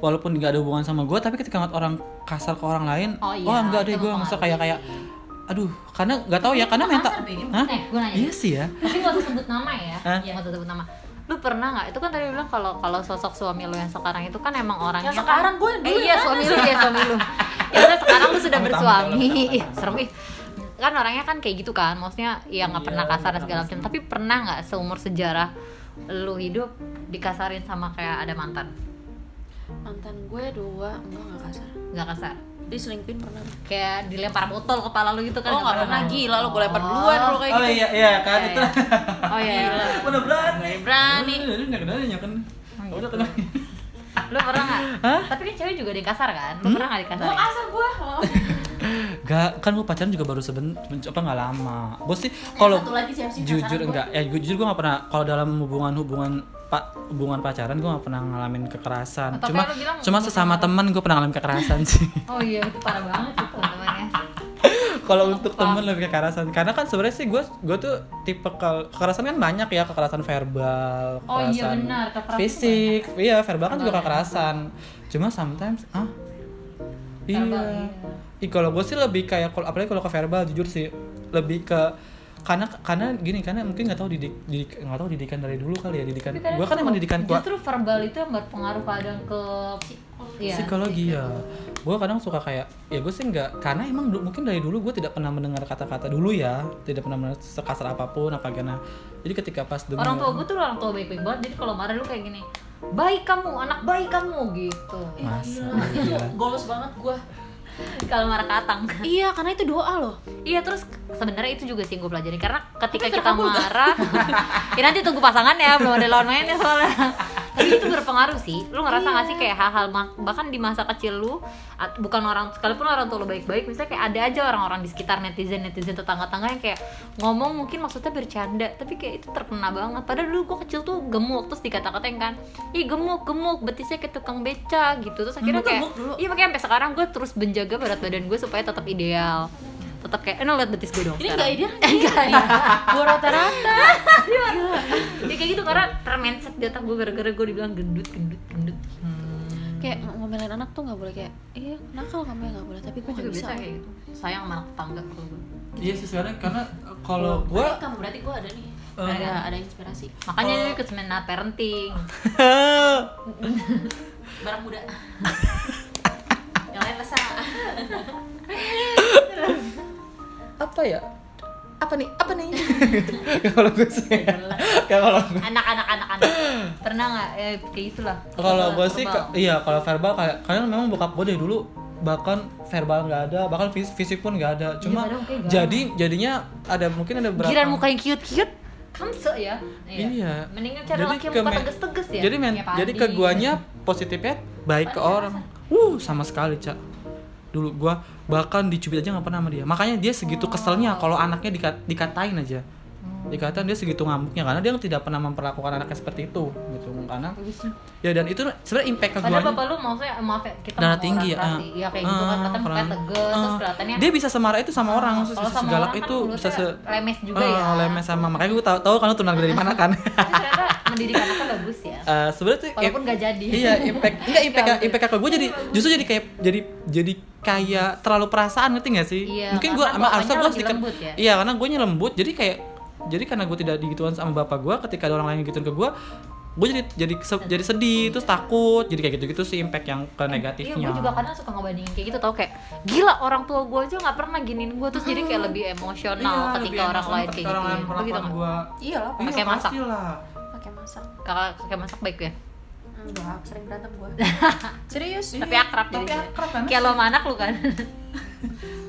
[SPEAKER 2] walaupun nggak ada hubungan sama gua tapi ketika ngeliat orang kasar ke orang lain,
[SPEAKER 1] Oh iya,
[SPEAKER 2] wah enggak
[SPEAKER 1] itu
[SPEAKER 2] deh gua masa kayak kayak
[SPEAKER 1] mempengaruhi.
[SPEAKER 2] aduh, karena nggak tahu ya karena mental.
[SPEAKER 3] Kasar, Bim.
[SPEAKER 2] Hah?
[SPEAKER 1] Eh, gua nanya.
[SPEAKER 2] Iya sih ya.
[SPEAKER 1] tapi nggak usah sebut nama ya
[SPEAKER 2] Hah?
[SPEAKER 1] nggak usah sebut nama lu pernah nggak itu kan tadi lu bilang kalau kalau sosok suami lu yang sekarang itu kan emang orangnya
[SPEAKER 4] Yang
[SPEAKER 1] kan,
[SPEAKER 4] sekarang, gua yang
[SPEAKER 1] eh,
[SPEAKER 4] dulu
[SPEAKER 1] iya
[SPEAKER 4] yang
[SPEAKER 1] suami lu ya suami lu ya kan sekarang lu sudah
[SPEAKER 2] Tamu-tamu
[SPEAKER 1] bersuami
[SPEAKER 2] kalau kita-
[SPEAKER 1] Ih, serem ih kan orangnya kan kayak gitu kan maksudnya ya nggak
[SPEAKER 2] Iya,
[SPEAKER 1] pernah kasar dan
[SPEAKER 2] nggak
[SPEAKER 1] segala macam tapi pernah nggak seumur sejarah lu hidup dikasarin sama kayak ada mantan
[SPEAKER 4] Mantan gue dua, enggak enggak kasar.
[SPEAKER 1] nggak kasar
[SPEAKER 4] Diseling pin pernah.
[SPEAKER 1] kayak dilempar botol kepala lu gitu kan
[SPEAKER 4] oh, enggak pernah gila lo gue lempar duluan lo kayak
[SPEAKER 2] Oh
[SPEAKER 4] gitu.
[SPEAKER 2] iya iya kan
[SPEAKER 1] Iya,
[SPEAKER 2] itu.
[SPEAKER 1] iya. oh iya
[SPEAKER 2] Udah berani.
[SPEAKER 4] Berani.
[SPEAKER 2] Udah udah kenal ya kan. Udah kenal.
[SPEAKER 1] lu pernah nggak tapi kan cewek juga ada yang kasar kan lu pernah nggak
[SPEAKER 4] Gue
[SPEAKER 1] dikasarin
[SPEAKER 4] kasar gue. Oh.
[SPEAKER 2] Gak, kan gue pacaran juga baru sebentar, apa nggak lama. Gue sih kalau
[SPEAKER 3] satu lagi siap-siap
[SPEAKER 2] jujur
[SPEAKER 3] pacaran gua.
[SPEAKER 2] enggak, ya gue jujur gue nggak pernah. Kalau dalam hubungan-hubungan pak hubungan pacaran gue nggak pernah ngalamin kekerasan.
[SPEAKER 1] Atau
[SPEAKER 2] cuma
[SPEAKER 1] kayak lu bilang
[SPEAKER 2] cuma sesama temen gue pernah ngalamin kekerasan sih.
[SPEAKER 1] Oh iya, itu parah banget itu teman ya.
[SPEAKER 2] kalau untuk temen lebih kekerasan, karena kan sebenarnya sih gue gue tuh tipe kal- kekerasan kan banyak ya kekerasan verbal,
[SPEAKER 1] Oh iya,
[SPEAKER 2] kekerasan
[SPEAKER 1] benar, kekerasan tuh
[SPEAKER 2] fisik, iya verbal kan juga kekerasan. Cuma sometimes ah iya.
[SPEAKER 1] Verbal,
[SPEAKER 2] Ih, kalau gue sih lebih kayak kalau apalagi kalau ke verbal jujur sih lebih ke karena karena gini karena mungkin nggak tahu didik didik- nggak tahu didikan dari dulu kali ya didikan
[SPEAKER 1] Tapi kadang
[SPEAKER 2] gue kan emang didikan kuat
[SPEAKER 1] Justru verbal itu yang berpengaruh kadang ke Iya.
[SPEAKER 2] psikologi ya gue kadang suka kayak ya gue sih nggak karena emang du- mungkin dari dulu gue tidak pernah mendengar kata-kata dulu ya tidak pernah mendengar sekasar apapun apa gimana jadi ketika pas dengar
[SPEAKER 1] Orang tua gue tuh orang tua baik-baik banget. Jadi kalau marah lu kayak gini, baik kamu, anak baik kamu gitu.
[SPEAKER 2] Masa, oh,
[SPEAKER 4] itu
[SPEAKER 2] gila.
[SPEAKER 4] goals banget gue.
[SPEAKER 1] kalau marah katang.
[SPEAKER 4] Iya, karena itu doa loh.
[SPEAKER 1] Iya terus sebenarnya itu juga sih yang gue pelajari karena ketika kita
[SPEAKER 4] Tapi terkabul nggak?
[SPEAKER 1] marah, ya nanti tunggu pasangannya belum ada lawan mainnya soalnya. Tapi itu berpengaruh sih. Lu ngerasa nggak sih
[SPEAKER 4] Iya.
[SPEAKER 1] kayak hal-hal ma- bahkan di masa kecil lu at- bukan orang sekalipun orang tua lu baik-baik, misalnya kayak ada aja orang-orang di sekitar netizen netizen tetangga-tetangga yang kayak ngomong mungkin maksudnya bercanda, tapi kayak itu terkena banget. Padahal dulu gue kecil tuh gemuk terus dikata-katain kan, ih gemuk gemuk betisnya ke tukang beca gitu terus akhirnya
[SPEAKER 4] Gemuk,
[SPEAKER 1] kayak
[SPEAKER 4] gemuk dulu.
[SPEAKER 1] Iya makanya sampai sekarang gue terus menjaga berat badan gue supaya tetap ideal tetap kayak, eh no, liat betis gue dong
[SPEAKER 4] Ini enggak
[SPEAKER 1] sekarang."
[SPEAKER 4] ideal. Enggak. Gue rata-rata.
[SPEAKER 1] Ya kayak gitu, karena termenset di otak gue gara-gara gue dibilang gendut, gendut, gendut
[SPEAKER 4] Kayak ng- ngomelin anak tuh nggak boleh kayak, iya nakal kamu ya nggak boleh, tapi gue
[SPEAKER 1] Gue juga
[SPEAKER 4] juga bisa.
[SPEAKER 1] biasa kayak gitu Sayang sama anak tetangga kalau gue
[SPEAKER 2] iya sih sebenarnya karena eh, kalau
[SPEAKER 1] Oh,
[SPEAKER 2] gue
[SPEAKER 4] Berarti kamu berarti gue ada nih. Ada ada inspirasi.
[SPEAKER 1] Makanya
[SPEAKER 2] Oh.
[SPEAKER 1] jadi ikut seminar parenting
[SPEAKER 4] Barang muda. Yang lain masa.
[SPEAKER 2] apa ya apa nih apa nih kalau gue sih kayak kalau gue
[SPEAKER 1] Anak-anak, anak-anak Pernah gak? Eh, kayak gitulah
[SPEAKER 2] kalau gue sih
[SPEAKER 1] Verbal.
[SPEAKER 2] ka- iya kalau verbal kayak karena memang bokap gue dari dulu bahkan verbal nggak ada bahkan fis- fisik pun nggak ada cuma
[SPEAKER 1] padahal Iya, kayak nggak
[SPEAKER 2] jadi jadinya ada mungkin ada berapa
[SPEAKER 1] Giran mukanya cute-cute Kamse ya
[SPEAKER 2] Iya.
[SPEAKER 1] Mendingan cari laki yang
[SPEAKER 2] ke
[SPEAKER 1] muka
[SPEAKER 2] me-
[SPEAKER 1] tegas-teges ya
[SPEAKER 2] Jadi men,
[SPEAKER 1] Kayak
[SPEAKER 2] jadi
[SPEAKER 1] Padi.
[SPEAKER 2] ke guanya positifnya baik ke orang. Uh, sama sekali, Cak. Dulu gua bahkan dicubit aja nggak pernah sama dia. Makanya dia
[SPEAKER 1] Oh.
[SPEAKER 2] segitu keselnya kalau anaknya dikat- dikatain aja.
[SPEAKER 1] Hmm.
[SPEAKER 2] Dikatain dia segitu ngamuknya karena dia tidak pernah memperlakukan anaknya seperti itu gitu. Karena ya dan itu sebenarnya impact ke
[SPEAKER 1] Padahal
[SPEAKER 2] guanya.
[SPEAKER 1] bapak lu maksudnya maaf ya kita
[SPEAKER 2] Darah
[SPEAKER 1] ngomong
[SPEAKER 2] tinggi
[SPEAKER 1] orang keras
[SPEAKER 2] ah.
[SPEAKER 1] sih. Iya kayak gitu kan
[SPEAKER 2] Ah,
[SPEAKER 1] katanya mukanya
[SPEAKER 2] keren.
[SPEAKER 1] tegas terus
[SPEAKER 2] Ah,
[SPEAKER 1] kelihatannya
[SPEAKER 2] dia bisa semarah itu sama orang
[SPEAKER 1] Kalau sama
[SPEAKER 2] segalak
[SPEAKER 1] orang kan
[SPEAKER 2] itu bisa se
[SPEAKER 1] mulutnya lemes juga
[SPEAKER 2] Ah,
[SPEAKER 1] ya.
[SPEAKER 2] lemes sama makanya gue tahu tahu kan lu tunangan dari mana kan
[SPEAKER 1] Tapi ternyata mendidik anaknya bagus ya
[SPEAKER 2] Eh, sebenarnya tuh
[SPEAKER 1] Walaupun nggak jadi. Iya,
[SPEAKER 2] iya impact enggak impact
[SPEAKER 1] Nggak
[SPEAKER 2] impact ke gue jadi justru jadi kayak jadi jadi kayak terlalu perasaan ngerti gak sih
[SPEAKER 1] Iya,
[SPEAKER 2] mungkin gue
[SPEAKER 1] karena
[SPEAKER 2] emang harusnya
[SPEAKER 1] bapaknya
[SPEAKER 2] gue
[SPEAKER 1] lebih
[SPEAKER 2] sedikit
[SPEAKER 1] lembut ya?
[SPEAKER 2] iya karena gue lembut jadi kayak jadi karena gue tidak digituan sama bapak gue ketika ada orang lain yang gituin ke gue gue jadi jadi se- jadi sedih terus takut jadi kayak gitu gitu sih impact yang ke
[SPEAKER 1] Iya,
[SPEAKER 2] negatifnya
[SPEAKER 1] gue juga kadang suka ngebandingin kayak gitu tau kayak gila orang tua gue aja nggak pernah giniin gue terus jadi kayak lebih emosional
[SPEAKER 2] Iya,
[SPEAKER 1] ketika orang lain kayak gitu. ya. Lu gitu nggak?
[SPEAKER 2] gue
[SPEAKER 4] Iya lah,
[SPEAKER 1] Pakai masak.
[SPEAKER 4] pakai masak.
[SPEAKER 1] Kakak kakak masak baik ya.
[SPEAKER 4] Enggak, sering berantem gue. Serius?
[SPEAKER 1] Tapi akrab
[SPEAKER 2] tapi
[SPEAKER 1] jadinya.
[SPEAKER 2] akrab kan
[SPEAKER 1] Kayak lo sama anak lu kan.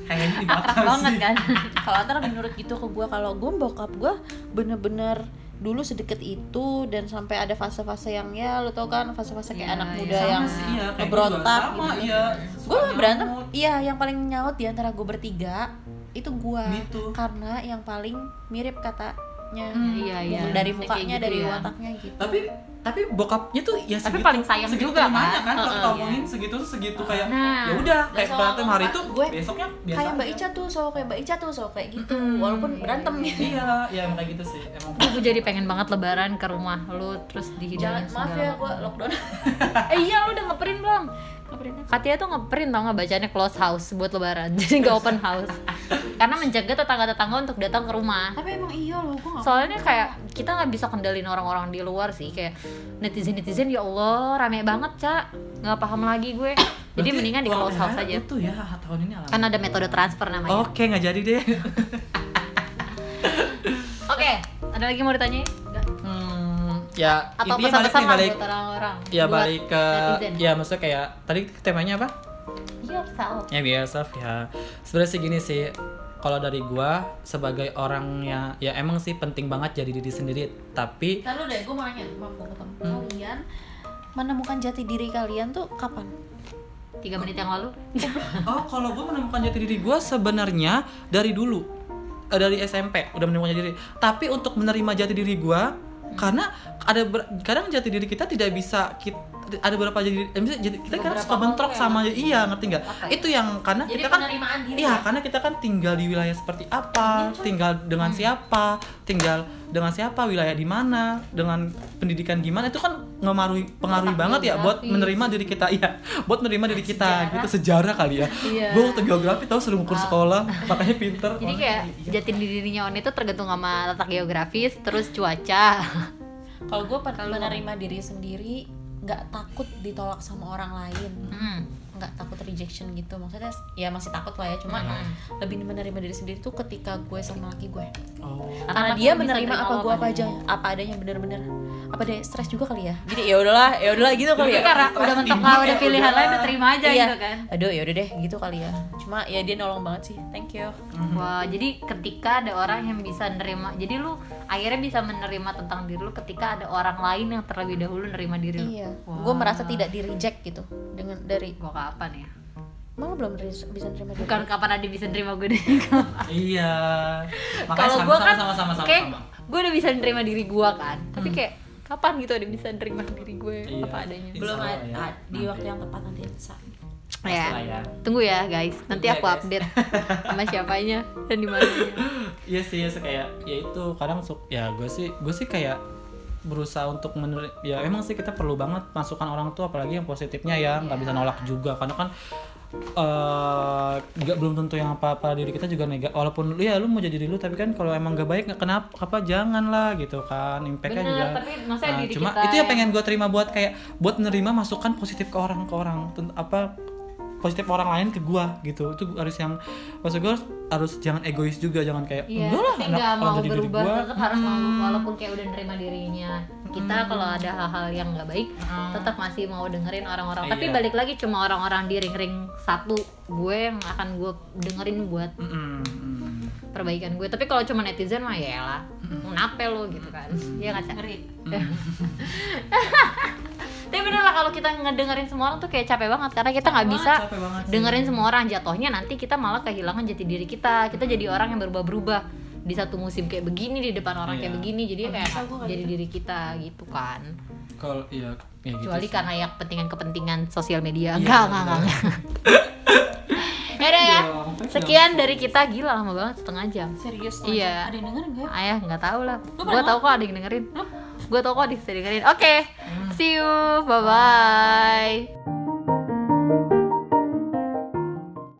[SPEAKER 2] kayaknya di
[SPEAKER 1] akrab banget kan.
[SPEAKER 4] kalau Antar menurut gitu ke gue kalau gue bokap gue bener-bener dulu sedekat itu dan sampai ada fase-fase yang ya lu tau kan fase-fase
[SPEAKER 1] Iya,
[SPEAKER 4] kayak anak
[SPEAKER 1] iya.
[SPEAKER 4] muda
[SPEAKER 1] Sama
[SPEAKER 4] yang
[SPEAKER 2] sih, iya, kayak gua juga.
[SPEAKER 4] ngeberontak
[SPEAKER 2] Sama,
[SPEAKER 4] gitu.
[SPEAKER 2] iya.
[SPEAKER 4] gue
[SPEAKER 2] Suka
[SPEAKER 4] berantem
[SPEAKER 2] nyamuk.
[SPEAKER 4] iya yang paling nyaut di antara gue bertiga itu gua
[SPEAKER 2] Gitu.
[SPEAKER 4] karena yang paling mirip katanya
[SPEAKER 1] Hmm, iya, iya.
[SPEAKER 4] dari
[SPEAKER 1] Kayak
[SPEAKER 4] mukanya
[SPEAKER 1] gitu
[SPEAKER 4] dari
[SPEAKER 1] ya.
[SPEAKER 4] wataknya gitu
[SPEAKER 2] tapi tapi bokapnya tuh ya
[SPEAKER 1] Tapi
[SPEAKER 2] segitu
[SPEAKER 1] paling sayang
[SPEAKER 2] segitu
[SPEAKER 1] juga,
[SPEAKER 2] terimanya
[SPEAKER 1] kan?
[SPEAKER 2] kan kalau
[SPEAKER 1] Heeh,
[SPEAKER 2] ngomongin segitu tuh segitu kayak
[SPEAKER 1] Nah.
[SPEAKER 2] ya udah
[SPEAKER 4] Dan
[SPEAKER 2] kayak
[SPEAKER 4] soal
[SPEAKER 2] berantem hari itu
[SPEAKER 4] ngomong, gue
[SPEAKER 2] besoknya biasa
[SPEAKER 4] kayak Mbak
[SPEAKER 2] aja.
[SPEAKER 4] Ica tuh selalu kayak Mbak Ica tuh selalu kayak gitu
[SPEAKER 1] Mm-mm.
[SPEAKER 4] walaupun
[SPEAKER 1] Iya,
[SPEAKER 4] berantem
[SPEAKER 1] iya,
[SPEAKER 4] gitu
[SPEAKER 2] iya ya emang kayak gitu sih emang
[SPEAKER 1] Aduh, gue jadi pengen banget lebaran ke rumah lu terus
[SPEAKER 4] jalan
[SPEAKER 1] dihidangin
[SPEAKER 4] maaf ya gua lockdown
[SPEAKER 1] eh iya lu udah ngeprint belum Katia tuh ngeprint tau nggak bacanya close house buat lebaran jadi nggak open house karena menjaga tetangga-tetangga untuk datang ke rumah
[SPEAKER 4] tapi emang iya loh gua nggak
[SPEAKER 1] soalnya kayak kita nggak bisa kendalin orang-orang di luar sih kayak netizen netizen ya allah rame banget cak nggak paham lagi gue jadi
[SPEAKER 2] Berarti
[SPEAKER 1] mendingan di
[SPEAKER 2] uang
[SPEAKER 1] close house
[SPEAKER 2] THR
[SPEAKER 1] aja
[SPEAKER 2] itu ya tahun ini alami.
[SPEAKER 1] kan ada metode transfer namanya
[SPEAKER 2] oke nggak jadi deh
[SPEAKER 1] oke ada lagi mau ditanya
[SPEAKER 2] hmm, ya
[SPEAKER 1] atau
[SPEAKER 2] intinya balik
[SPEAKER 1] pesan-pesan
[SPEAKER 2] nih
[SPEAKER 1] lah
[SPEAKER 2] balik
[SPEAKER 1] buat orang-orang
[SPEAKER 2] ya
[SPEAKER 1] buat
[SPEAKER 2] balik ke
[SPEAKER 1] netizen. Iya,
[SPEAKER 2] ya maksudnya kayak tadi temanya apa
[SPEAKER 1] yourself
[SPEAKER 2] ya biasa ya sebenarnya sih gini sih kalau dari gua sebagai orangnya ya emang sih penting banget jadi diri sendiri tapi
[SPEAKER 4] Ntar lu deh, gue mau nanya sama aku ketemu kalian menemukan jati diri kalian tuh kapan?
[SPEAKER 1] tiga menit yang lalu
[SPEAKER 2] oh kalau gua menemukan jati diri gua sebenarnya dari dulu Eh, dari SMP udah menemukan jati diri tapi untuk menerima jati diri gua karena ada ber- kadang jati diri kita tidak bisa kita ada berapa jadi eh, misalnya jati- kita kadang
[SPEAKER 4] Beberapa
[SPEAKER 2] suka bentrok
[SPEAKER 4] orang ya,
[SPEAKER 2] sama iya ngerti nggak
[SPEAKER 1] Apa ya?
[SPEAKER 2] itu yang karena
[SPEAKER 4] Jadi
[SPEAKER 2] kita kan
[SPEAKER 4] penerimaan diri. ya,
[SPEAKER 2] Iya, karena kita kan tinggal di wilayah seperti
[SPEAKER 1] Iya,
[SPEAKER 2] apa, tinggal
[SPEAKER 1] Hmm.
[SPEAKER 2] dengan siapa, tinggal dengan siapa, wilayah di mana, dengan pendidikan gimana itu kan ngemaruhi pengaruhi
[SPEAKER 1] Letak
[SPEAKER 2] banget ya buat
[SPEAKER 1] geografis.
[SPEAKER 2] menerima diri kita, iya, buat menerima diri kita
[SPEAKER 1] Sejarah.
[SPEAKER 2] gitu sejarah kali ya.
[SPEAKER 1] Iya.
[SPEAKER 2] Gue waktu geografi tahu suruh ngukur sekolah, makanya pinter.
[SPEAKER 1] jadi
[SPEAKER 2] Oh,
[SPEAKER 1] kayak
[SPEAKER 2] iya.
[SPEAKER 1] jati dirinya on itu tergantung sama letak geografis terus cuaca
[SPEAKER 4] Kalau gue menerima diri sendiri, nggak takut ditolak sama orang lain,
[SPEAKER 1] Hmm.
[SPEAKER 4] nggak takut rejection gitu. Maksudnya ya masih takut lah ya, cuma lebih menerima diri sendiri tuh ketika gue sama laki gue.
[SPEAKER 2] Oh.
[SPEAKER 4] Karena,
[SPEAKER 1] laki
[SPEAKER 4] dia
[SPEAKER 1] lu bisa
[SPEAKER 4] menerima
[SPEAKER 1] terima
[SPEAKER 4] apa
[SPEAKER 1] lo
[SPEAKER 4] gue
[SPEAKER 1] apa
[SPEAKER 4] apa aja, apa adanya bener-bener. Apa deh stres juga kali ya? Jadi ya udahlah, ya udahlah gitu kali
[SPEAKER 1] Tapi
[SPEAKER 2] Iya.
[SPEAKER 4] ya.
[SPEAKER 1] karena udah mentok lah, udah pilihan lain udah terima aja
[SPEAKER 4] Iya.
[SPEAKER 1] gitu kan.
[SPEAKER 4] Aduh, ya udah deh gitu kali ya. Cuma ya dia nolong banget sih. Thank you.
[SPEAKER 2] Mm-hmm.
[SPEAKER 1] Wah, jadi ketika ada orang yang bisa nerima, jadi lu akhirnya bisa menerima tentang diri lu ketika ada orang lain yang terlebih dahulu nerima diri lu.
[SPEAKER 4] Iya.
[SPEAKER 1] Wah.
[SPEAKER 4] Gue merasa tidak di reject gitu dengan dari
[SPEAKER 1] Gua kapan ya?
[SPEAKER 4] Malah belum ris- bisa nerima diri.
[SPEAKER 1] Bukan kapan ada bisa nerima gue deh.
[SPEAKER 2] Iya. Makanya
[SPEAKER 1] Kalau
[SPEAKER 2] sama,
[SPEAKER 1] gue
[SPEAKER 2] sama,
[SPEAKER 1] kan,
[SPEAKER 2] sama sama sama
[SPEAKER 1] kayak
[SPEAKER 2] sama. Hmm.
[SPEAKER 1] gue udah bisa nerima diri gue kan, tapi kayak kapan gitu ada bisa nerima diri gue
[SPEAKER 2] Iya.
[SPEAKER 1] apa adanya?
[SPEAKER 2] Belum
[SPEAKER 4] belum
[SPEAKER 2] ada-
[SPEAKER 4] ada di
[SPEAKER 2] Nanti.
[SPEAKER 4] waktu yang tepat nanti
[SPEAKER 1] Ya.
[SPEAKER 4] bisa.
[SPEAKER 2] Pastilah ya.
[SPEAKER 1] Tunggu ya guys, nanti aku
[SPEAKER 2] Tunggu ya, guys.
[SPEAKER 1] update sama siapanya dan di mananya.
[SPEAKER 2] Iya sih, ya kayak ya itu kadang suka ya gue sih gue sih kayak berusaha untuk menurut ya emang sih kita perlu banget masukan orang tuh apalagi yang positifnya ya nggak bisa nolak juga karena kan eh, nggak belum tentu yang apa apa diri kita juga negatif walaupun lu ya lu mau jadi diri lu tapi kan kalau emang nggak baik nggak kenapa apa janganlah gitu kan impactnya
[SPEAKER 1] Bener,
[SPEAKER 2] juga
[SPEAKER 1] tapi maksudnya
[SPEAKER 2] Nah,
[SPEAKER 1] diri
[SPEAKER 2] cuma
[SPEAKER 1] kita
[SPEAKER 2] itu yang
[SPEAKER 1] yang-
[SPEAKER 2] pengen gue terima buat kayak buat nerima masukan positif ke orang ke orang Tent- apa positif orang lain ke gua gitu itu harus yang maksud gue harus, harus jangan egois juga jangan kayak
[SPEAKER 1] Iya,
[SPEAKER 2] enggak lah
[SPEAKER 1] tapi
[SPEAKER 2] anak
[SPEAKER 1] nggak
[SPEAKER 2] orang
[SPEAKER 1] mau
[SPEAKER 2] jadi diri
[SPEAKER 1] berubah
[SPEAKER 2] gua." Hmm.
[SPEAKER 1] tetap harus mau walaupun kayak udah nerima dirinya. Kita kalau ada hal-hal yang nggak baik, tetap masih mau dengerin orang-orang. Tapi
[SPEAKER 2] Hmm. Iya.
[SPEAKER 1] balik lagi cuma orang-orang di ring-ring satu gue yang akan gue dengerin buat
[SPEAKER 2] Mm-mm, mm.
[SPEAKER 1] perbaikan gue. Tapi kalau cuma netizen mah ya lah,
[SPEAKER 2] Hmm.
[SPEAKER 1] ngapain lo gitu kan? Iya nggak Ca? Tapi bener lah kalau kita ngedengerin semua orang tuh kayak capek banget karena kita nggak bisa
[SPEAKER 2] Wah, capek banget sih.
[SPEAKER 1] dengerin semua orang jatuhnya nanti kita malah kehilangan jati diri kita kita jadi orang yang berubah-berubah di satu musim kayak begini di depan orang kayak
[SPEAKER 2] Iya.
[SPEAKER 1] begini jadi ya kayak jadi diri kita gitu kan
[SPEAKER 2] kalau iya ya gitu
[SPEAKER 1] kecuali
[SPEAKER 2] sih.
[SPEAKER 1] karena ya kepentingan-kepentingan sosial media
[SPEAKER 2] Iya,
[SPEAKER 1] enggak enggak enggak Yaudah ya,
[SPEAKER 2] Dong, thank you.
[SPEAKER 1] sekian dari kita gila lama banget setengah jam.
[SPEAKER 4] Serius
[SPEAKER 1] tuh, Iya.
[SPEAKER 4] Ada yang denger enggak?
[SPEAKER 1] Ayah nggak tahu lah, gue tau kok ada yang dengerin, gue tau kok ada yang dengerin. Oke, see you, bye bye.